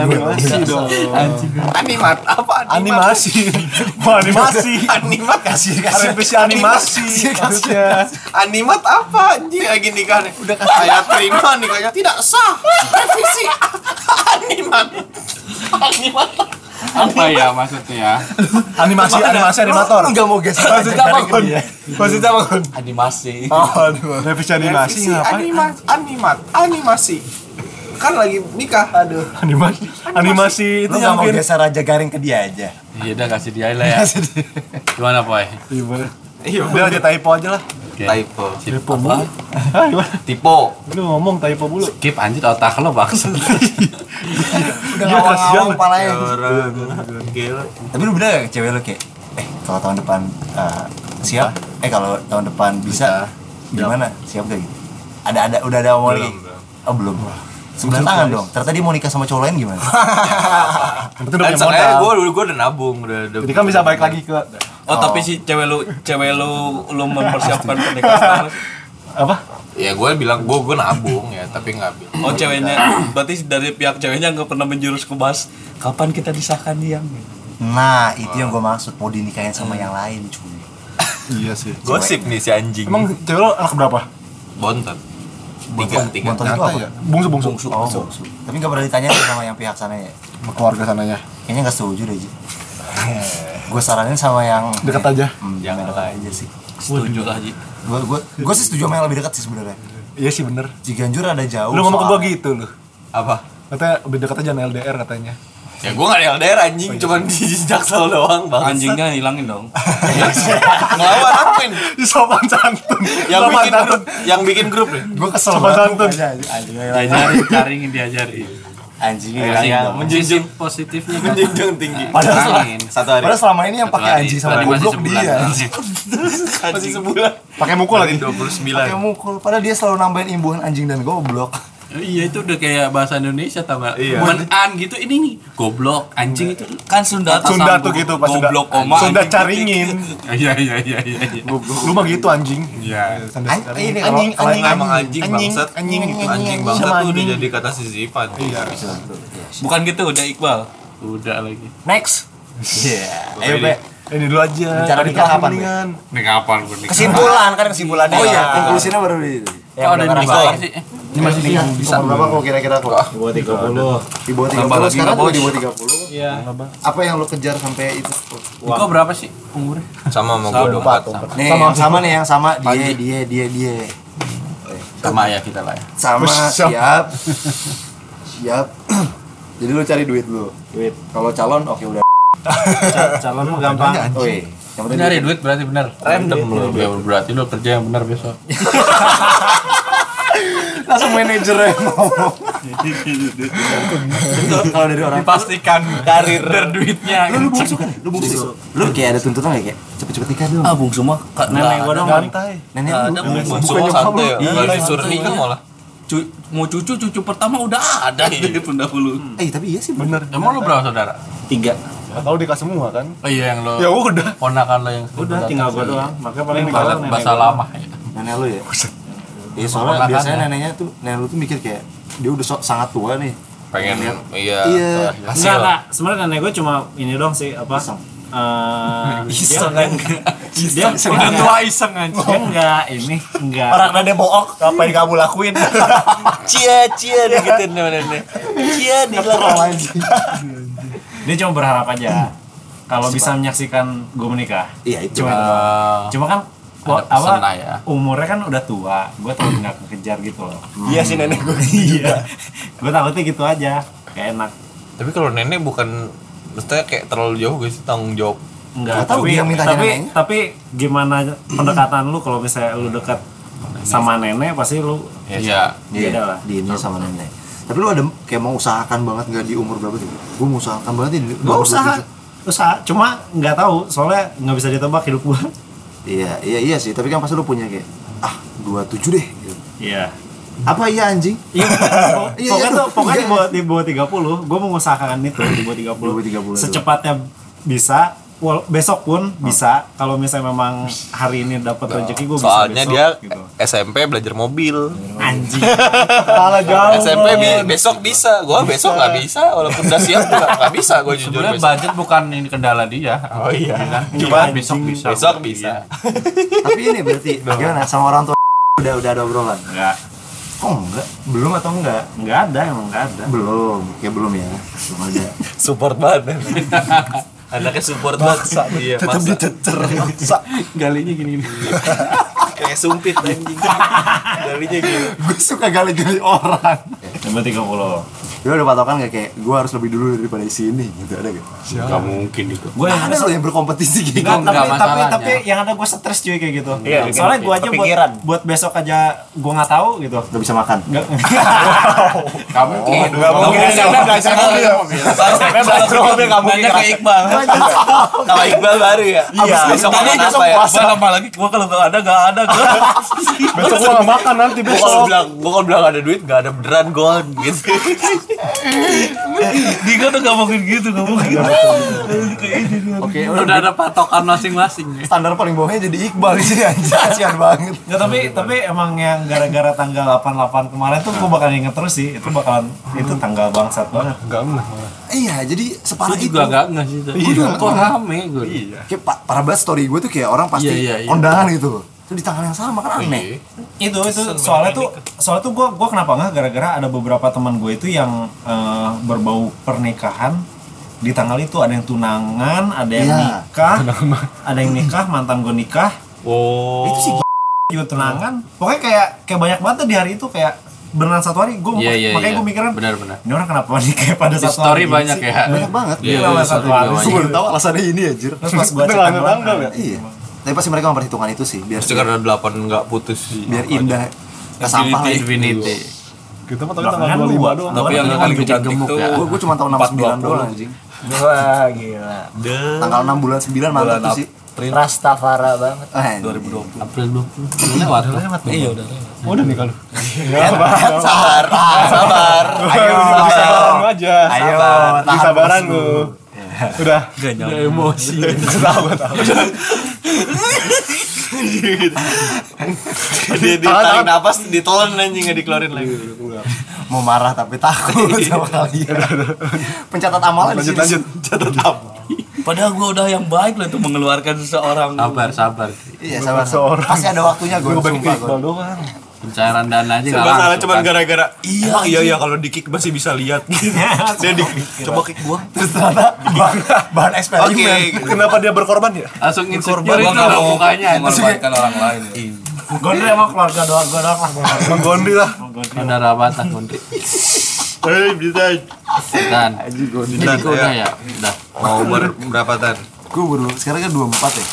Animat apa? Animasi. [laughs] Wah, [laughs] animasi. Animat kasih kasih. Revisi animasi. Harusnya. Animat apa anjing lagi nikah nih? Udah kasih. Saya terima nikahnya tidak sah. Revisi. [laughs] Animat. Animat. Apa ya maksudnya? Animasi, animasi animator. nggak mau geser Maksudnya bangun. Maksudnya bangun. Animasi. Oh, aduh. Revisi animasi Revisi ngapain? animat animat animasi. Kan lagi nikah. Aduh. Animasi. Animasi itu lo nggak yang mau mungkin. geser raja garing ke dia aja Ya udah kasih dia lah ya. Gimana, Poy? Iya. Udah aja typo aja lah. Typo. Typo mulu. Hah, gimana? Typo. Lu ngomong typo mulu. Skip anjir otak lo bangsa. udah Iya, kasihan. ngawang-ngawang ya. palanya Orang gila. tapi lu bilang nggak ke cewek lo kayak eh kalau tahun depan eh, siap eh kalau tahun depan bisa gimana siap gak gitu ada ada udah ada mau lagi oh belum sembilan tangan dong ternyata dia mau nikah sama cowok lain gimana Yang penting udah Dan punya modal. sebenarnya gue dulu gue Eh, udah nabung [laughs] udah. udah- Jadi kan bisa balik lagi ke Oh, tapi si cewek lu cewek lu lu mempersiapkan pernikahan. apa? Ya gue bilang gue gue nabung ya tapi nggak bilang. Oh ceweknya, berarti dari pihak ceweknya nggak pernah menjurus ke bahas kapan kita disahkan yang Nah, itu yang gue maksud mau dinikahin sama yang lain, cuy. Iya sih. Gosip nih si anjing. Emang cewek lo anak berapa? bontot. Tiga tiga. Bontot itu apa? Bungsu Ya. bungsu. Oh, bungsu. Tapi gak pernah ditanya sama yang pihak sana ya. Sama keluarga sananya. Kayaknya gak setuju deh, Ji. gue saranin sama yang Dekat aja. Hmm, yang dekat aja sih. setuju lah Ji. Gue gue gue sih setuju sama yang lebih dekat sih sebenarnya. Iya sih bener. Ciganjur ada jauh. Lu ngomong ke Oh, soal- gua gitu lu. Apa? Katanya lebih dekat aja sama LDR katanya. Ya gue nggak ada LDR anjing, cuman di Jaksel doang bang. [laughs] Anjingnya hilangin dong. Ngelawan admin. Ih, Sopan santun. Yang Sopan bikin santun. grup, yang bikin grup nih. Gue kesel Sopan banget. santun. Diajarin, caringin diajarin. Anjingnya hilang Kasih ya. dong. Sisi Iya, positifnya kan. Menjunjung tinggi. Padahal selama, Angin. Satu hari. padahal selama ini yang Satu pakai hari, anjing sama tadi masih goblok sebulan. dia. Masih sebulan. Pakai mukul lagi. Dua puluh Pakai sembilan. mukul. Padahal dia selalu nambahin imbuhan anjing dan goblok. Iya itu udah kayak bahasa Indonesia tau gak? Iya. Menan gitu ini nih goblok anjing itu. Kan Sunda tuh Sunda sambung. tuh gitu pas Sunda. goblok koma. Sunda caringin. Iya iya iya iya. iya. Lu mah gitu anjing. Iya. Sunda An- caringin. ini kalau- Anjing, kalau- anjing, emang anjing, anjing, bangsat. anjing, Anjing anjing. bangsat tuh Sama udah anjing. jadi kata sisipan. Iya. Bukan gitu udah Iqbal. Udah lagi. Next. Iya. Ayo, Be. Ini dulu aja. Rencana Tadi nikah paham kapan, Be? mendingan. Ini kapan gue nikah? Kesimpulan kan kesimpulannya. Oh iya. konklusinya baru di. Kok Oh, Oh, ada yang nikah sih? Eh, Ini masih di bisa berapa kok kira-kira kok? Di bawah 30. Di bawah 30 sekarang udah di bawah 30. Iya. Apa yang lo kejar sampai itu? Kok berapa sih umurnya? Sama mau gue dong. Nih, yang sama nih yang sama dia dia dia dia. Sama ya kita lah ya. Sama Push up. siap. [clears throat] siap. Jadi lo cari duit dulu. Duit. Kalau calon oke udah calon mah gampang Tanya anjing. Yang penting Nyari duit berarti Iya, benar. Random lu. Iya, Ya, berarti lu kerja yang benar besok. langsung manajer yang ngomong. Itu kalau dari orang Dipastikan karir berduitnya. lu bungsu kan? Lu bungsu. Lu kayak ada tuntutan kayak cepet-cepet nikah dong. Oh, Ah bung semua kak nenek gua dong. Nenek Nggak lu ada, Bung. bukan Oh, Semua nyokap lu. santai ya. Iya. Nggak Iya, disuruh santai nikah kan ya. malah. Cu- mau cucu cucu pertama udah ada gitu dari pendahulu. Eh tapi iya sih bener. Emang lu berapa saudara? tiga Kalau nikah semua kan? Oh iya yang lu. Ya udah. Ponakan lo yang udah tinggal gua doang makanya paling Ini kalau bahasa, bahasa lama ya. Nenek lu ya. Iya soalnya Ponakan biasanya ya. neneknya tuh nenek lu tuh mikir kayak dia udah so- sangat tua nih. pengen iya Iya. Enggak, enggak. Sebenarnya kan nenek gue cuma ini doang sih apa? Eh, iseng kan? Dia Udah tua iseng aja. dia enggak ini enggak. Orang ada bohong, apa Iya. yang kamu [laughs] lakuin? Iya. Cia cia gitu, dikitin nenek. Cia dilarang. Iya, Dia cuma berharap aja kalau bisa menyaksikan gue menikah. Iya itu. Cuma itu doang. Eh, Cuma kan Ada wa- apa pesan lah ya. umurnya kan udah tua, gue takut nggak kekejar gitu loh. Iya sih nenek gue. Iya, gue takutnya gitu aja, kayak enak. tapi kalau nenek bukan maksudnya kayak terlalu jauh guys tanggung jawab Enggak, Nggak tahu tapi dia minta tapi, neneknya. tapi gimana pendekatan lu kalau misalnya lu dekat sama nenek pasti lu ya, Iya. Iya, Beda lah. di ini sama nenek. Tapi lu ada kayak mau usahakan banget nggak di umur berapa sih? Gue mau usahakan banget nih. gue usaha usaha cuma nggak tahu soalnya nggak bisa ditebak hidup gue Iya, iya iya sih. Tapi kan pasti lu punya kayak ah 27 deh. gitu. iya Apa iya anjing? [laughs] Iya, pokok- Iya, iya, pokoknya tuh, iya. pokoknya di bawah, di bawah 30, gue mengusahakan itu di bawah 30. Di bawah 30 itu. Secepatnya bisa, wal- besok pun bisa. Kalau misalnya memang hari ini dapat rezeki gue bisa soalnya besok, dia gitu. SMP belajar mobil anjing. Kepala jauh. SMP Iya, bi- besok bisa gua besok nggak bisa walaupun udah siap juga nggak bisa gua jujur Sebenarnya besok budget bukan ini kendala dia. oh iya Kan cuma besok bisa. Iya. besok bisa Tapi ini [laughs] berarti gimana sama orang tua [laughs] udah udah ada obrolan? Enggak, Oh enggak, belum atau enggak? enggak ada emang enggak ada. Belum, kayak belum ya. Belum ada. support banget [laughs] anaknya support banget iya Tetap maksa dicecer. Galinya gini. [laughs] kayak sumpit anjing darinya gitu [laughs] gue suka gali-gali orang. Di bawah 30. Gue udah patokan gak kayak gue harus lebih dulu daripada di sini gitu ada gak? Gak mungkin itu. Gue yang Ada loh yang berkompetisi kayak gitu. Enggak, tapi, enggak tapi, masalahnya. tapi yang ada gue stres cuy kayak gitu. Iya, bikin Soalnya gue aja kepikiran. buat, buat besok aja gue nggak tahu gitu. Gak bisa makan. Enggak. Gak mungkin. Gak mungkin. Belajar mobil. SMP belajar mobil kamu Nanya ke Iqbal. kalau Iqbal baru ya Iya. besok Tadi makan besok apa ya puasa lama lagi gua kalau gak ada gak ada gua. [laughs] Besok gua gak makan nanti Gua kalau besok. bilang gua kalau bilang ada duit gak ada beneran gon gitu Dika tuh gak mungkin gitu gak mungkin. Oke, Udah ada patokan masing-masing. ya. standar paling bawahnya jadi Iqbal di sini anjir, kasihan banget. Nggak, tapi tapi emang yang gara-gara tanggal 88 kemarin tuh gue bakal inget terus sih. Itu bakalan itu tanggal bangsat banget. Gak enak. Iya, jadi separah Gue itu. juga gak nggak sih. Iya. Kok rame gue. Kayak pa- parah banget story gue tuh kayak orang pasti Iya, iya, Eh. iya. kondangan gitu. Itu di tangan yang sama kan aneh. itu itu soalnya tuh soalnya tuh gue gua kenapa nggak gara-gara ada beberapa teman gue itu yang eh, berbau pernikahan di tanggal itu ada yang tunangan ada yang Iya. nikah ada yang nikah mantan gue nikah oh itu sih juga tunangan pokoknya kayak kayak banyak banget tuh di hari itu kayak beneran satu hari gue Iya, iya, makanya iya. gue mikiran Benar-benar. ini orang kenapa nikah pada Di satu story hari ini banyak sih?" ya. Banyak banget. Iya, Kenapa iya, satu iya, hari iya, Gue baru tahu alasannya ini anjir. ya. terus pas gue Itu cek nggak ada tanggal tanggal ya? Iya. Tapi pasti mereka memperhitungkan itu sih biar pasti karena delapan nggak putus sih biar indah. Gak sampah lah. Infinity. Kita mah tau Belakangan tanggal 25 doang. Tapi yang Orang paling bikin cantik gemuk tuh ya. Gue cuma tahu 69 doang anjing. Wah gila. Tanggal 6 bulan 9 mantap Bulan tuh sih. Rastafara banget. Eh, 2020. April 20. Lewat. Lewat. Iya udah. Udah nih kalau. sabar sabar Ayo. Sabaran lu aja. Ayo, Lagi tahan sabaran bos lu. lu. Udah. Gak nyambung. dia ditarik napas ditelan anjing nggak dikeluarin lagi mau marah tapi takut sama kalian. Pencatat amalan di Iya. Lanjut sini. lanjut. Padahal gua udah yang baik lah tuh mengeluarkan seseorang. Sabar, sabar. Iya, sabar. Seorang. Pasti ada waktunya gue Gue balik ke sumpah gue. Iqbal doang. Pencairan dana aja nggak masalah langsung, cuma kan. gara-gara iya iya iya kalau di kick masih bisa lihat gitu [laughs] dia di coba kick gua Terus ternyata bahan, bahan eksperimen. oke Kenapa dia berkorban ya? langsung Gua insecure itu gak loh mau mukanya anjing. mengorbankan orang lain. gue dulu emang keluarga doang gue doang lah Bang Gondi lah. saudara batah Gondri Dan jadi gue udah ya, udah. Mau ber berapa tan? Gue baru sekarang kan 24 ya.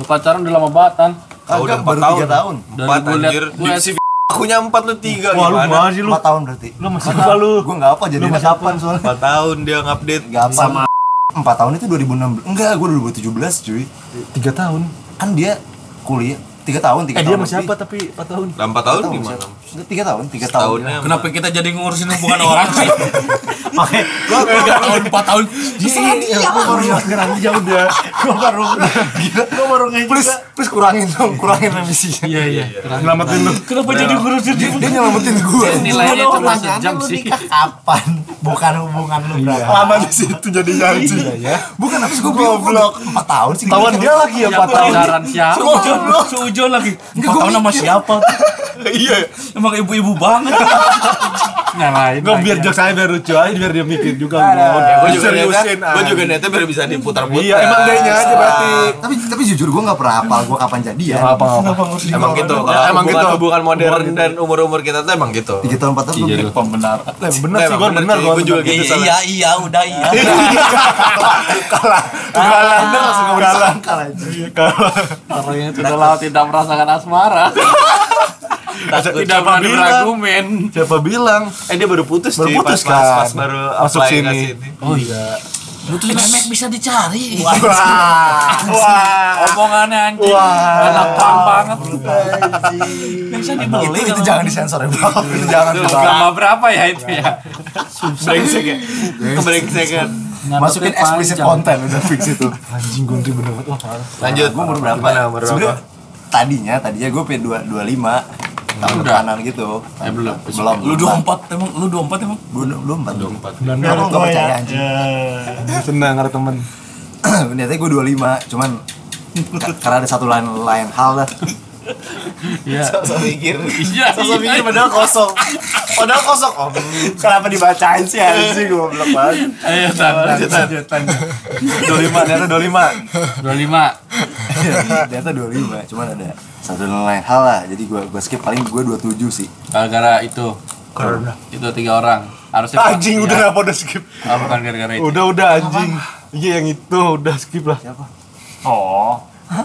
Lu pacaran udah lama banget kan? Kagak, udah empat baru tahun. 3 tahun. Dan Empat, gue liat, anjir. gue liat Akunya empat lu tiga Wah lu gimana? gimana sih lu? 4 tahun berarti. Lu masih lupa lu. Gue enggak apa jadi anak kapan soalnya. Empat tahun dia ngupdate. Enggak apa. Sama 4 tahun itu 2016. Enggak, gue 2017 cuy. Tiga tahun. Kan dia kuliah 3 tahun, 3 Eh tahun. dia masih apa tapi empat tahun. ya. Iya. Lah empat tahun gimana? 3 tahun, 3 tahun. Tahunnya Kenapa kita jadi ngurusin hubungan orang sih? Oke. Tiga tahun, empat tahun. Iya, iya, gue baru ngerang dia udah. Gue baru gila, gue baru ngejek. Please, please kurangin dong, kurangin remisinya. Iya iya. Selamatin lu. Kenapa jadi ngurusin dia? Dia nyelamatin gue. Nilainya cuma sejam lu sih. nikah kapan? Bukan hubungan lu berapa. Lama di situ jadi anjing. Bukan habis gue bingung blok 4 tahun sih. Tawan dia lagi ya empat tahun. Pacaran siapa? Seujon. Seujon lagi. Empat gua tahun sama siapa? Iya. Emang ibu-ibu banget. Nyalain. Enggak biar jok saya biar lucu aja biar dia mikir juga. Gue Gue juga niatnya, seriusin. gue juga niatnya biar bisa diputar-putar. Iya emang gayanya aja berarti. Tapi tapi jujur gue nggak pernah hafal gue kapan jadi ya. Apa-apa. Emang gitu. kalau emang hubungan- gitu. Hubungan modern dan umur-umur kita tuh emang gitu. Tiga tahun empat tahun belum nikah. pembenaran. Eh, Bener sih gue bener gue. Gue juga gitu. Iya iya, iya udah iya. Galang bener langsung ke galang. Kalah aja. Orangnya tidak laut tidak merasakan asmara. tidak pernah bilang? berargumen. Siapa bilang? Eh dia baru putus Baru cuy, putus pas, pas, kan. pas baru Masuk apply sini. ke sini. Butuh memek bisa dicari. Wah. Wah. Omongannya anjing. Anak pang banget. Bisa dibeli Itu itu kalau- jangan disensor ya bro. Jangan Berapa berapa ya itu ya? Brengsek ya. Kebrengsekan. masukin explicit konten udah fix itu. [laughs] Anjing gue ngeri bener banget. Wah, parah. Lanjut. Gue umur berapa? Gimana, umur berapa? Sebenarnya tadinya tadinya gue pengen dua dua lima tahun depanan gitu. Eh belum. Belum. Lu 24 emang lu 24 emang? Gue dua empat. Dua empat. Bulan Kenapa merah nggak gua percaya, ya. anjing? Ya. Tenang ada temen. [clears throat] Niatnya gue dua lima, cuman ka- karena ada satu lain lain hal lah. Sosok mikir. Iya. Sosok mikir padahal kosong. Padahal kosong. Oh, Om. Kenapa dibacain sih anjing goblok banget. Ayo tan. Dua lima, ternyata dua [laughs] lima. 25. Ternyata dua lima, cuman ada satu lain hal lah. Jadi gue gue skip paling gue dua tujuh sih. Gara-gara itu. Itu tiga orang. Harusnya Anjing Iya. udah apa udah skip? Ah, bukan gara-gara itu. Udah udah anjing. Iya yang itu udah skip lah.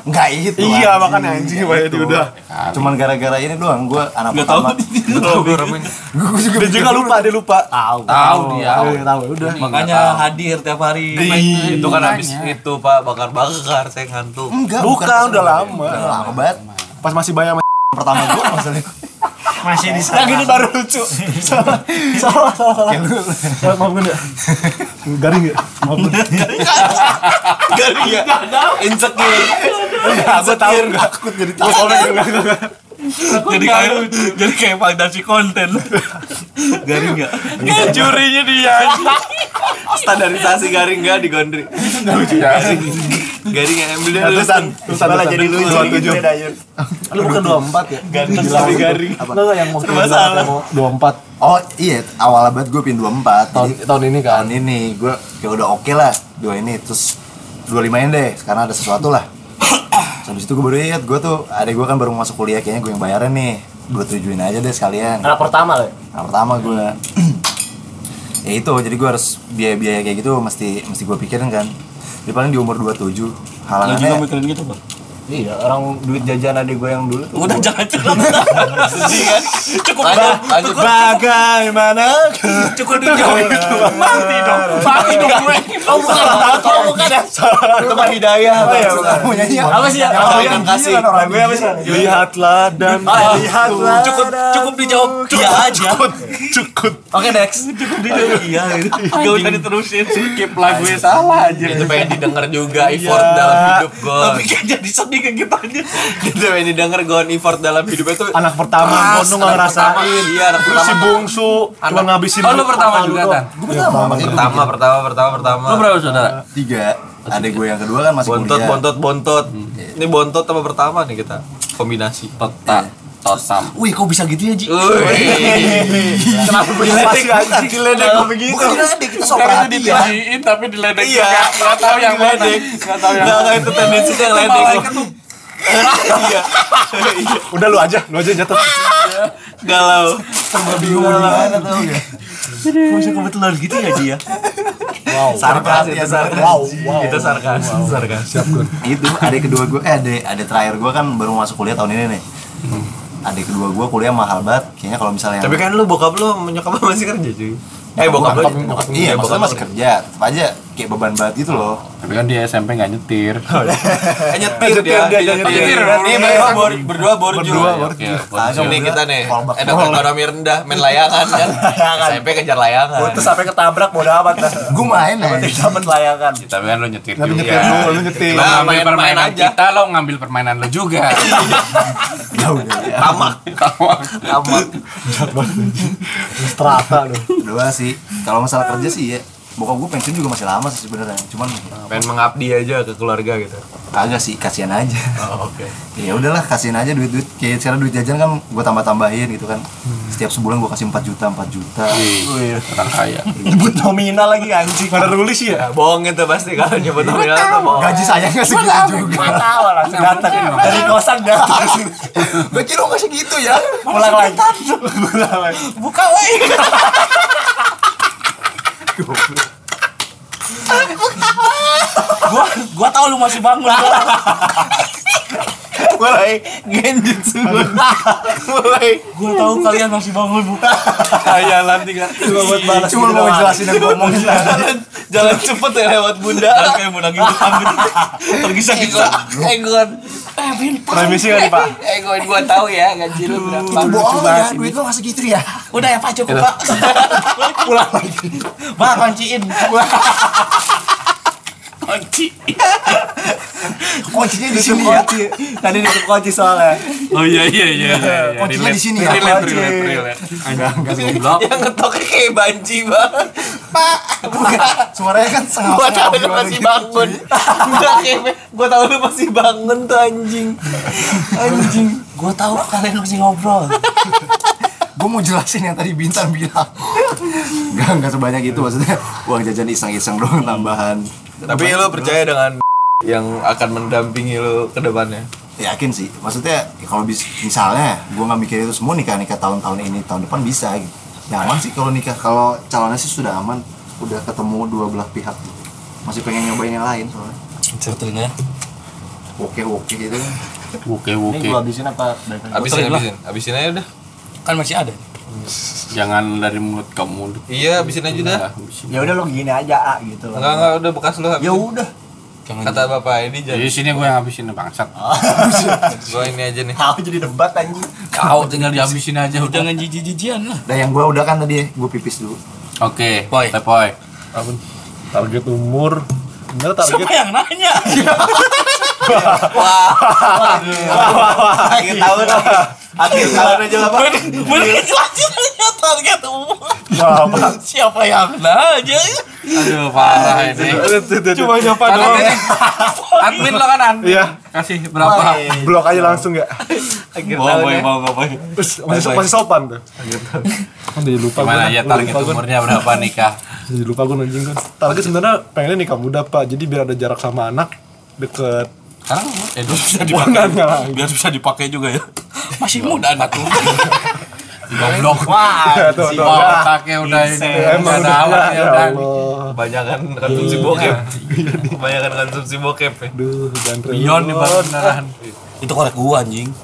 Enggak itu. Oh. Iya makanya anjing Pak Edi udah. Cuman gara-gara ini doang gue anak Nggak pertama. Gue juga dia juga lupa dia lupa. Tahu. Tahu dia. tahu udah. Makanya hadir tiap hari. Iya. Itu kan habis itu Pak bakar-bakar saya ngantuk. Enggak, Bukan, kesel. udah lama. Udah lama banget. Pas masih bayar sama [laughs] Pertama gue maksudnya. Masih di sana. ini baru lucu. Salah salah salah. salah. Eh, Maaf gue ya. Garing ya. Maaf gue. Iya. Insecure. Aku tahu enggak. Takut jadi tahu. Komen enggak. Jadi kayak jadi kayak validasi konten. Garing enggak? Jurinya dia. Standarisasi garing enggak di Gondri? Garing yang ambil dia. dulu. Terusan. Terusan Malah jadi terusan. lucu gitu ya Dayun. Lu bukan 24 ya? Ganteng tapi garing. Lu yang mau salah. 24 Oh iya, awal banget gue pin 24 tahun tahun tahun ini kan. tahun ini gue ya udah oke lah dua ini terus dua limain deh sekarang ada sesuatu lah [clears throat] Terus habis itu gue baru ingat gue tuh adek gue kan baru masuk kuliah kayaknya gue yang bayarin nih gue tujuin aja deh sekalian Anak pertama loh. Nah, pertama gue [clears throat] ya itu jadi gue harus biaya-biaya kayak gitu mesti mesti gue pikirin kan jadi paling di umur 27 Lu juga halangannya mikirin gitu, Pak? Iya, orang duit jajan adik gue yang dulu tuh. Udah jangan curhat. Sedih kan? Cukup Lanjut, lanjut. Bagaimana? cukup dulu. Mati dong. Mati dong gue. Oh bukan. Oh bukan ya. Tempat hidayah. mau nyanyi apa? Apa sih ya? Apa yang kasih? kan Lihatlah dan lihatlah. Cukup cukup dijawab. Iya aja. Cukup. Oke next. Cukup dijawab. Iya. Gak usah diterusin. Skip lagunya salah aja. Itu pengen didengar juga effort dalam hidup gue. Tapi kan jadi sedih ke kita aja. Itu pengen didengar gue effort dalam hidup itu. Anak pertama, gue nggak ngerasain. Iya, anak Lu si pertama. bungsu, cuma ngabisin. Oh lu pertama juga kan? gue pertama makanya gue Pertama, pertama, pertama, pertama. Oh, iya. Lu berapa saudara? tiga adek gue yang kedua kan masih Bontot, kuliah bontot, bontot. Hmm, iya. Ini bontot sama pertama nih kita. Kombinasi. Peta. Totam. Wih kok bisa gitu ya Ji? Kenapa masih anjing? Diledek gue begitu. Bukan adek, kita sok Tapi perhatian itu ya. ditinggiin tapi diledek Iya. juga. Gak tau yang mana. Gak tau yang Enggak, enggak itu tendensinya yang ledek. lu. Udah lu aja, lu aja yang jatuh. Galau. Serba bingung di mana tau gak? Masa kebetulan gitu ya dia? Sarkas ya sarkas. Kita sarkas, sarkas. Siap gue. Itu Gitu, adik kedua gue, eh adik, adik terakhir gue kan baru masuk kuliah tahun ini nih. Adik kedua gue kuliah mahal banget. Kayaknya kalau misalnya Tapi kan lu bokap lu menyokap lu masih kerja cuy. Eh bokap lu. bokap, bokap, iya, maksudnya masih kerja, tetap aja kayak beban banget gitu loh. Tapi kan dia SMP nggak nyetir. Nyetir dia, Iya, dia nyetir. Ini berdua bor, berdua iya, borju. Berdua borju. Langsung Eh, Ini kita nih, Fallback. ada ekonomi rendah, main layangan kan. SMP kejar layangan. Gue tuh sampai ketabrak bodo amat lah. Gue main ya. Penting dapat layangan. Tapi kan lo nyetir Tapi juga. nyetir dulu, lu nyetir. Lo ngambil main-main permainan aja. kita, lo ngambil permainan lo juga. Ya udah ya. Strata loh. Doa sih. Kalau masalah kerja sih ya. Bokap gue pensiun juga masih lama sih sebenarnya. Cuman Pengen mengabdi aja ke keluarga gitu. kagak sih, kasihan aja. Oke. [laughs] ya udahlah kasihin aja duit duit kayak sekarang duit jajan kan gue tambah tambahin gitu kan setiap sebulan gue kasih 4 juta 4 juta Orang [laughs] kaya. Nyebut nominal lagi anjing. Gak ada tulis ya? Ya, bohong itu pasti kalau nyebut nominal tuh bohong. gaji saya nggak segitu juga Gak tahu langsung datang dari kosan datang. gue kira nggak segitu ya Pulang lagi. Buka woi. gua gua tahu lu masih bangun. mulai genjutsu mulai Gua tahu kalian masih bangun buka. Kayalan tiga. cuma buat balas cuma mau jelasin yang gue omongin jalan jalan cepet ya lewat bunda Kalian kayak mau nagih utang gitu. Tergesa-gesa. Egon Eh, Remisi kali pak? Egon gua tahu ya gaji lu berapa itu bohong ya duit lo nggak segitu ya udah ya pak cukup pak Bah kunciin. kuncinya di sini ya Tadi ditutup kunci soalnya. Oh iya iya iya. iya, iya. kuncinya di sini ya Relate, relate, relate. yang ngetoknya kayak banci banget suaranya kan sangat gua tahu lu masih bangun [laughs] Udah kayak- gua tahu lu masih bangun tuh anjing anjing Gua tahu kalian masih [laughs] ngobrol. gue mau jelasin yang tadi bintang [laughs] bilang nggak nggak sebanyak itu maksudnya uang jajan iseng-iseng doang tambahan tapi lu percaya dengan yang akan mendampingi lu ke depannya yakin sih maksudnya ya kalau bis misalnya gue nggak mikir itu semua nikah nikah tahun-tahun ini tahun depan bisa gitu ya aman sih kalau nikah kalau calonnya sih sudah aman udah ketemu dua belah pihak gitu. masih pengen nyobain yang lain soalnya Ceritanya. oke oke gitu kan Oke oke. Ini gua habisin apa? abisin abisin abisin aja udah Kan masih ada. Jangan dari mulut ke mulut. iya abisin aja udah Ya udah lo gini aja ah gitu. loh. Enggak enggak udah bekas lu habis. Ya udah. Jangan Kata bapak ini jadi Jadi sini gue yang habisin bangsat. gua ini aja nih. Tahu jadi debat anjing. kau tinggal dihabisin aja udah. Jangan jijik-jijian lah. dan yang gue udah kan tadi gue pipis dulu Oke. Boy. Tepoy. Apa? Target umur Bener target Siapa yang nanya? Akhir tahun. Akhir tahun aja bapak. Mending jelasinnya target umum. Apa? gitu. Siapa yang nanya? Aduh parah ini. Cuma nyapa doang Admin lo kan admin. Iya Kasih berapa? Blok aja langsung ya Bawa boy, bawa nggak boy. Terus masih, masih sopan tuh [laughs] Kan jadi lupa Gimana gua. ya target Lupa gua. umurnya berapa nikah? Jadi lupa gue anjing kan. Target sebenarnya pengennya nikah muda pak. Jadi biar ada jarak sama anak deket. Sekarang eh dulu bisa Bukan dipakai. nggak Biar bisa dipakai juga ya. Masih muda anak lu. Goblok. [laughs] Tuh tuh. Wah, otaknya udah ini. Udah ada Emang udah awal ya ya udah. Iya. Allah. Iya. Kebanyakan konsumsi bokep. Kebanyakan konsumsi bokep. ya. Duh, jangan Yon di bawah beneran. Itu korek gua anjing.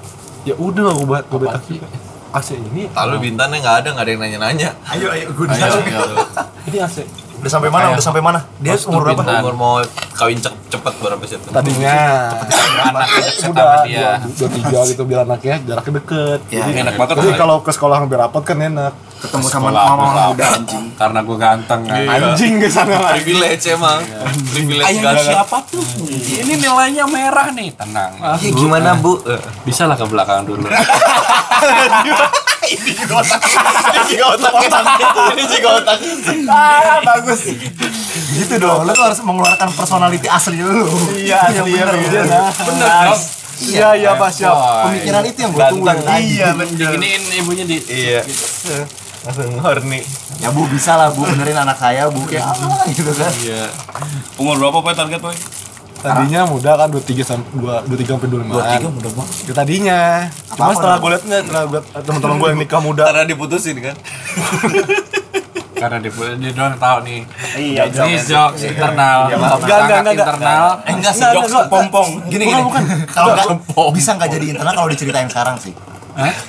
Ya udah lah gue gue betak juga. AC ini, Tahu lu bintannya enggak ada, enggak ada yang nanya-nanya. ayo ayo gue Ayo, ayo. ini AC. udah sampai mana udah sampai mana dia umur berapa Bintan. Umur mau kawin cep cepet berapa sih itu? Tadinya Anak deket sama udah dia. dua, dua tiga gitu biar anaknya jaraknya deket. Ya, Jadi, Enak banget. jadi kalau ke sekolah hampir rapat kan enak. ketemu sama Sekolah, mama sekolah. mama udah anjing Karena gue ganteng kan. Anjing ke sana lagi. Privilege emang. Privilege Ayah gak siapa tuh? Ya, Ini nilainya merah nih. Tenang. Ah. gimana bu? Eh, Bisa lah ke belakang dulu. Ini juga otak. Ini juga otak. Ah, bagus. gitu dong lu tuh harus mengeluarkan personality asli lu Iya, asli ya bener. Bener dong. Iya, iya, Pak, siap. pemikiran itu yang gue tunggu Ganteng. iya Diginiin ibunya di Iya. Langsung horny. ya bu bisa lah bu benerin anak saya bu kayak ah gitu kan Umur berapa boy target boy? tadinya muda kan 23 sampai 23 sampai 25 23 muda banget ya tadinya cuma setelah gue liat nggak setelah gue teman-teman gue yang nikah muda Karena diputusin kan. Karena dia dia doang tahu nih. Iya, Ini jokes internal. Enggak, enggak, enggak, internal. Eh, enggak sih, Enggak, jokes enggak, kepompong. Gini gini. Kalau nggak bisa nggak jadi internal kalau diceritain sekarang sih.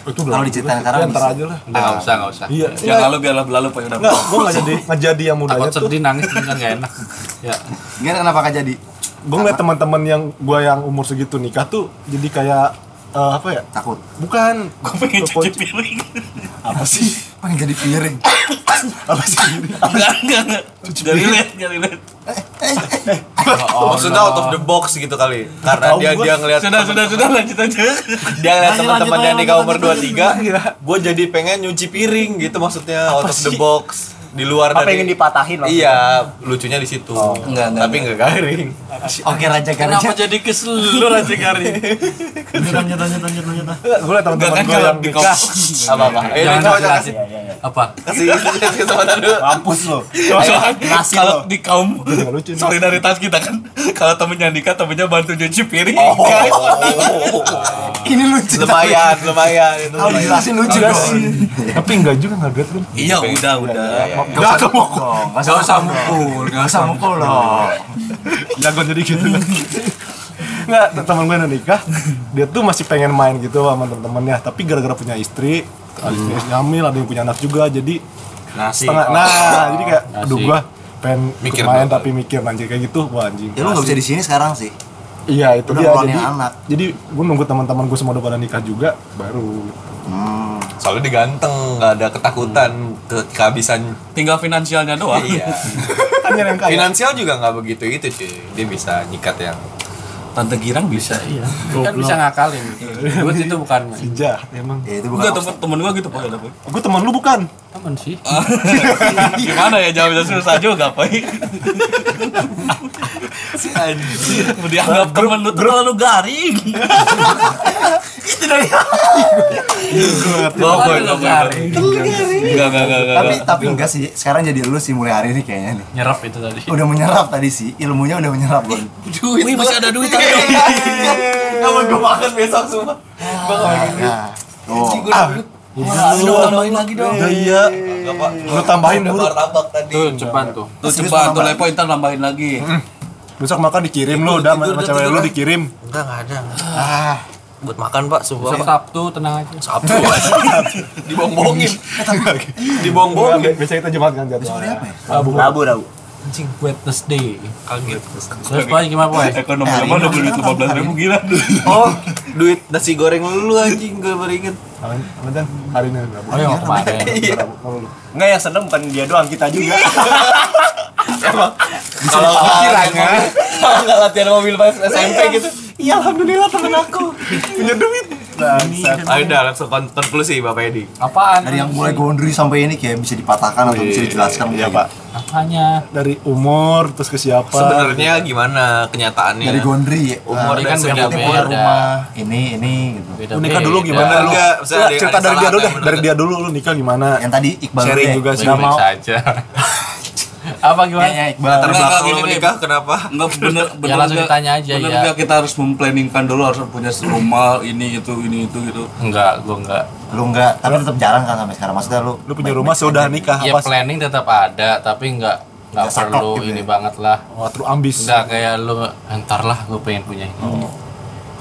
itu Kalau diceritain sekarang Ya, ntar bisa. aja lah Udah enggak usah, enggak usah. iya Yang lalu biarlah berlalu pak udah. nggak gue nggak jadi nggak jadi yang mudanya Takut tuh sedih nangis kan enggak [laughs] enak. Ya. Gini kenapa nggak jadi? gue ngeliat teman-teman yang gue yang umur segitu nikah tuh jadi kayak eh, apa ya Takut. bukan gue Pengen cuci piring. apa sih Pengen jadi piring. apa sih ini? Enggak, enggak, enggak. Dari lihat, dari lihat. Maksudnya out of the box gitu kali. Karena Tahu dia gua. dia ngelihat Sudah, sudah, sudah lanjut aja. dia ngeliat Lanjut, teman-teman lanjut, yang nikah lanjut, umur lanjut, 23 gue jadi pengen nyuci piring gitu maksudnya out of the box di luar Apa dari pengen dipatahin lah. iya lucunya di situ enggak, enggak, tapi nggak garing Oke Raja kan. Kenapa Garja. jadi kesel lu Raja Gari? Lanjut lanjut lanjut lanjut. gue liat Enggak teman-teman kan gue kalau yang di nikah apa apa eh Jangan coba coba jelasin. kasih [laughs] Apa? kasih kasih kesempatan dulu Mampus lo. kaos kalau di kaum Nggak lucu nih. solidaritas kita kan kalau temennya nikah temennya bantu nyuci piring Oh, guys Ini lucu. lumayan lumayan itu Kalau lumayan. dijelasin lucu dong. tapi enggak juga nggak liat kan iya udah udah nggak ada mokok Gak usah mukul, gak usah mukul loh. jagoan jadi gitu kan nggak te- teman gue yang nikah dia tuh masih pengen main gitu sama teman-temannya tapi gara-gara punya istri ada yang hamil ada yang punya anak juga jadi Nasi. setengah nah jadi kayak aduh Asik. gue pengen ikut oh. Mikir main banget. tapi mikir anjir kayak gitu wah anjing Ya lu gak bisa di sini sekarang sih. iya itu Udah dia ngeluarin jadi anak. jadi gue nunggu teman-teman gue semua udah pada nikah juga baru soalnya diganteng nggak ada ketakutan ke kehabisan tinggal finansialnya doang iya kan nyari yang kaya finansial juga nggak begitu itu cuy dia bisa nyikat yang tante girang bisa iya Kan bisa ngakalin. Duit itu bukan si jahat emang Ya itu enggak bukan. temen temen gua gitu pak udah Pak. gue teman lu bukan temen sih. [laughs] gimana ya jawabnya susah juga pak dianggap temen lu tuh terlalu garing Gue Gua- gua- Terlalu gua- garing. enggak enggak enggak enggak Eh, Tapi tapi enggak sih. Sekarang jadi lu sih mulai hari ini kayaknya nih. Nyerap itu tadi. Udah menyerap tadi sih, ilmunya udah menyerap Bon. Wih, masih ada duit kamu gue makan besok semua Nah, tuh. Ah. tambahin lagi dong iya nggak pak lu tambahin dulu martabak tadi Tuh cepat tuh. tuh cepat tuh lepo ntar tambahin lagi besok makan dikirim lu udah sama tidur, cewek tidur, lu lah. dikirim Enggak, enggak ada. Buat makan, Pak, sumpah. Besok Pak. Sabtu tenang aja. Sabtu. Dibombongin. Dibombongin. biasanya kita jumat kan ya? jadwalnya Rabu, Rabu, Rabu. Anjing Wednesday. Kaget. Terus poin gimana poin? ekonomi apa udah duit lima belas ribu gila Oh, duit nasi goreng lu anjing gue baru inget. Amin, amin dan hari ini Rabu. Oh yang kemarin. Rabu, Rabu. Enggak yang seneng bukan dia doang, kita juga. Kalau kiranya kalau Ah, nggak latihan mobil pas SMP gitu. Iya, alhamdulillah temen aku. Ayo dah langsung kon- konklusi Bapak Edi. Apaan? Dari yang mulai gondri sampai ini kayak bisa dipatahkan atau bisa dijelaskan kan Iya kayak gitu. pak. Apanya? Dari umur terus ke siapa? Sebenarnya gimana gitu. Dari kenyataannya? gondri ya. Umur Nah, Iya. kan dan yang beda-beda. penting sebenarnya punya rumah ini ini gitu. Beda Lu nikah dulu gimana lu? Enggak, maksudnya Lah, ada- cerita ada dari dia salah dulu kan, deh. Dari dia dulu lu nikah gimana? Yang tadi Iqbal Sharing dulu ya. juga sih. Nggak mau. saja. [laughs] Apa Ya, gimana? ya, Iqbal. Iya. latar Enggak, belakang enggak, lu gini, ya. nikah kenapa? [laughs] Enggak bener bener langsung enggak- ditanya aja, bener ya. enggak kita harus memplanningkan dulu harus punya rumah ini itu ini itu gitu Enggak, gua enggak. Lu enggak, tapi tetap jarang kan sampai sekarang. Maksudnya lu Lu punya rumah sudah nikah Ya apa? sih? planning tetap ada, tapi enggak enggak Nggak saklek perlu gitu ini ya. banget lah. Wah, terus ambis. Enggak kayak lu entar lah gua pengen punya ini.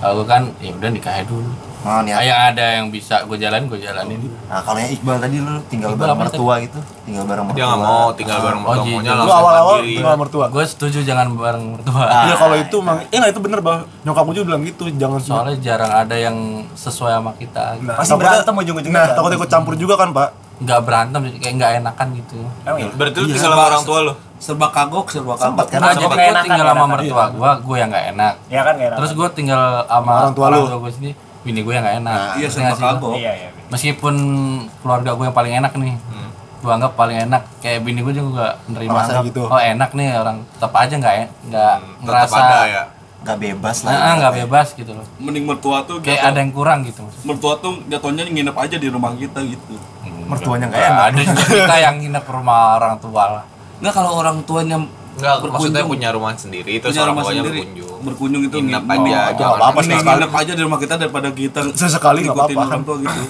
Kalau gua kan ya udah nikah aja dulu. mau Ah, Nah, nih. yang ada yang bisa gua jalanin, gua jalanin. Nah, kalau yang Iqbal tadi lu tinggal Iqbal bareng apa mertua gitu, tinggal bareng mertua. Dia nggak mau tinggal bareng Oh, mertua, maunya gitu. Lu langsung awal-awal mandiri. tinggal mertua. Gue setuju jangan bareng mertua. Ah, Iya kalau itu emang, eh nah itu bener bah. Nyokap gue juga bilang gitu, jangan semua. Soalnya jarang ada yang sesuai sama kita. Nah, Pasti takutnya- berantem ujung-ujungnya Nah, kan. takut ikut campur juga kan pak? Enggak berantem kayak enggak enakan gitu. Emang iya? Berarti lu tinggal sama orang tua lu. serba kagok serba Sempat kan? kagok Nah, sama jadi gak gue enakan, tinggal gak sama enakan. mertua gue, gue yang gak enak. Iya kan enggak enak. Terus gue tinggal sama Orang tua lu. gue sendiri, bini gue yang gak enak. Ngerti iya gak serba sih lu? kagok iya, iya. Meskipun keluarga gue yang paling enak nih, gue anggap paling enak. Kayak bini gue juga gak nerima Merasa anggap, gitu. oh enak nih orang tetap aja nggak en- nggak Tetap ngerasa ada ya. Nggak bebas lah. Nah, ah, nggak bebas gitu loh. mending mertua tuh Kayak jatuh- ada yang kurang gitu. maksudnya. mertua tuh jatuhnya nginep aja di rumah kita gitu Mertuanya nggak Nah, enak. ada juga kita yang nginep ke rumah orang tua lah. Enggak kalau orang tuanya Enggak, maksudnya punya rumah sendiri Iya, terus punya orang rumah tuanya sendiri berkunjung. berkunjung itu Nginep nginep. aja, Oh, jangan apa-apa sih nginep. nginep aja di rumah kita daripada kita Sesekali nggak ngikutin apa-apa. orang tua gitu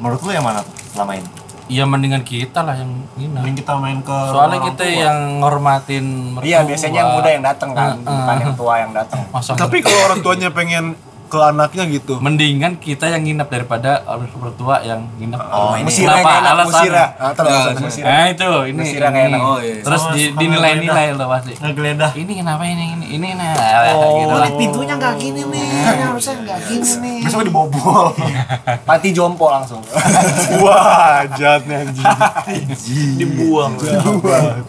Menurut lu yang mana tuh selama ini? Ya mendingan kita lah yang ini. Mending kita main ke Soalnya kita yang ngormatin mertua. Iya, biasanya yang muda yang datang Ah, kan, bukan yang tua yang datang. Masa Tapi kalau orang tuanya pengen ke anaknya gitu. mendingan kita yang nginep daripada orang mertua yang nginep. Oh, ini. Kenapa? Musira yang enak, Alasannya. musira. Ah, terus, Ya, terus. Nah itu ini. Mesirnya nggak ini. enak. Oh, iya. Terus Sama di- suka dinilai-nilai loh pasti. Ngegeledah. Ini kenapa ini ini ini nah oh, gitu lah. Pintunya nggak gini nih, harusnya nggak gini nih. Besok dibobol. Iya. Pati jompo [laughs] langsung. Wah, jahatnya anjing. dibuang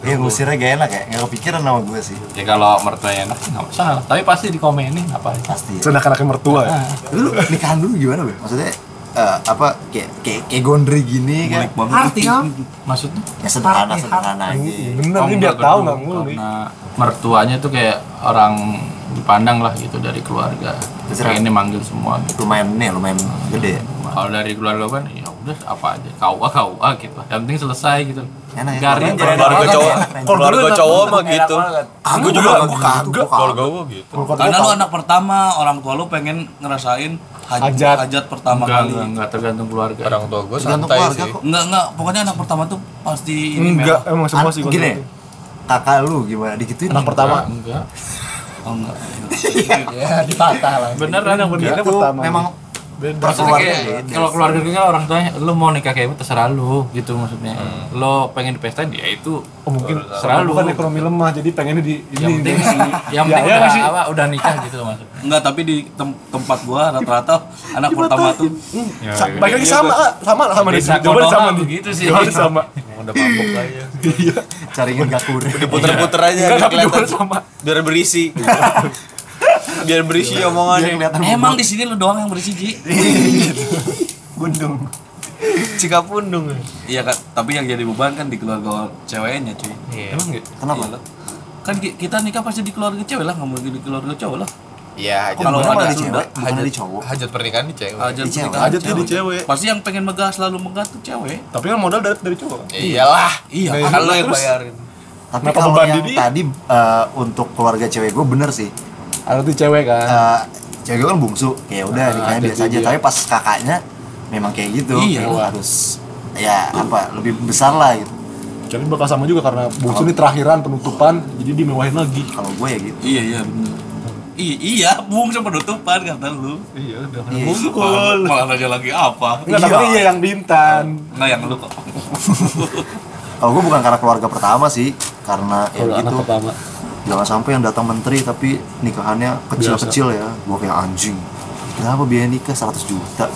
Iya, ngusirnya gak enak ya, nggak kepikiran sama gue sih Ya kalau mertua yang enak nggak masalah. Tapi pasti dikomenin apa aja. Pasti ya. Senak-enaknya mertua ya. Lu nikahan dulu gimana, Be? Maksudnya, eh, apa, kayak, kayak, kayak gondri gini kan? Bulik banget. Maksudnya Ya sederhana, sederhana aja Bener, ini biar tahu nggak mulu nih. Karena mertuanya tuh kayak orang dipandang lah gitu dari keluarga. Terserah. Kayak ini manggil semua gitu. Lumayan nih, lumayan gede ya Kalau dari keluarga kan ya udah apa aja kau kau gitu. Yang penting selesai gitu. Enak ya, Garing. keluarga Keluarga Enak, cowok, enak, enak. keluarga cowok mah gitu. Aku juga, aku kagak Keluarga gua gitu. karena lu anak pertama orang tua lu pengen ngerasain haj- Hajat. hajat pertama Enggak, kali enggak, enggak tergantung keluarga. Orang tua gua Tergantung santai keluarga sih. kok enggak enggak pokoknya anak pertama tuh pasti ini Enggak, merah. emang semua An- sih. Ah, gitu. Gini, kakak lu gimana, dikituin Anak pertama. Enggak. oh enggak ya, dipatah lah. Bener ada Gini Itu pertama. memang Maksudnya Beda. perkeluarga kayak beda kalau sih. keluarga kita orang tuanya lu mau nikah kayak gitu terserah lu gitu maksudnya. Lo pengen dipestain ya itu Oh, mungkin Selalu. bukan ekonomi lemah, jadi pengennya di yang ini. penting yang Ya, penting ya, udah sih. apa, udah nikah gitu maksudnya. enggak tapi di tem- tempat gua rata-rata anak pertama tuh Sa- Baik lagi sama, ah, sama lah sama nih. Desa Jawabannya Konoha sama nih. begitu sih. Jawabannya sama. udah mabuk aja [laughs] Cariin gak kurir Iya. Puter-puter aja biar kelihatan biar berisi. biar berisi Dia omongannya. kelihatan emang di sini lu doang yang bersih Ji Cikapundung. iya kan tapi yang jadi beban kan di keluarga ceweknya cuy Iya. Emang gitu. Kenapa? Iyalah. kan ki- kita nikah pasti di keluarga cewek lah nggak mungkin di keluarga cowok lah Iya, hajat. Kalau Kalau ada ada di Sunda, cewek, bukan hajat- di cowok hajat pernikahan di cewek. Iya, aja Di cewek. Hajat tuh di cewek. pasti yang pengen megah selalu megah tuh cewek Tapi kan modal dari dari cowok. Iyalah, iya Nah, kan lo yang terus- bayarin. Tapi Kenapa kalau beban yang di dia? tadi eh, untuk keluarga cewek gue bener sih Ada tuh cewek kan. Eh, cewek gue kan bungsu ya udah nikahnya ada biasa tuh aja dia. tapi pas kakaknya memang kayak gitu Iya Kayak lu lah. harus ya apa lebih besar lah gitu Jadi bakal sama juga karena bungsu ini terakhiran penutupan, jadi dimewahin lagi. kalau gue ya gitu iya iya bener I- iya bung sama penutupan kata lu Iya, udah. Iya. malah, malah nanya lagi apa Enggak, tapi iya yang bintan. nggak yang lu kok kalau gue bukan karena keluarga pertama sih karena ya Anak gitu pertama. jangan sampai yang datang menteri tapi nikahannya kecil-kecil ya gue kayak anjing kenapa biaya nikah 100 juta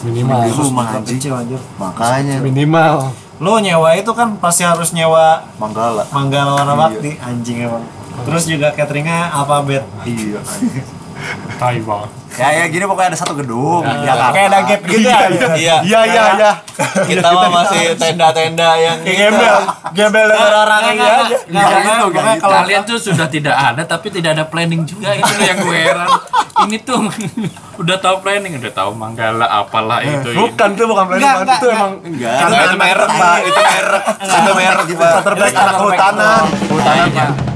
Ah, Minimal. di rumah anjing makanya Minimal. Lu nyewa itu kan pasti harus nyewa manggala Manggala warna Iya. bakti anjing emang. Terus juga cateringnya alfabet. iya anjing. Tai banget. ya ya gini pokoknya ada satu gedung ya, Kayak ada gap gitu ya. Iya. Iya, iya, iya. Kita mah masih tenda-tenda yang Kayak gembel, gembel dengan orang ini aja. Nggak gitu, nggak gitu. kalian tuh sudah tidak ada tapi tidak ada planning juga itu loh yang gue heran. Ini tuh [laughs] udah tahu planning, udah tahu manggala apalah itu ini. Bukan tuh bukan planning, Pak. itu emang enggak Nah, itu merek, Pak. Itu merek. Itu merek, Pak. terbaik anak kehutanan. Kayaknya.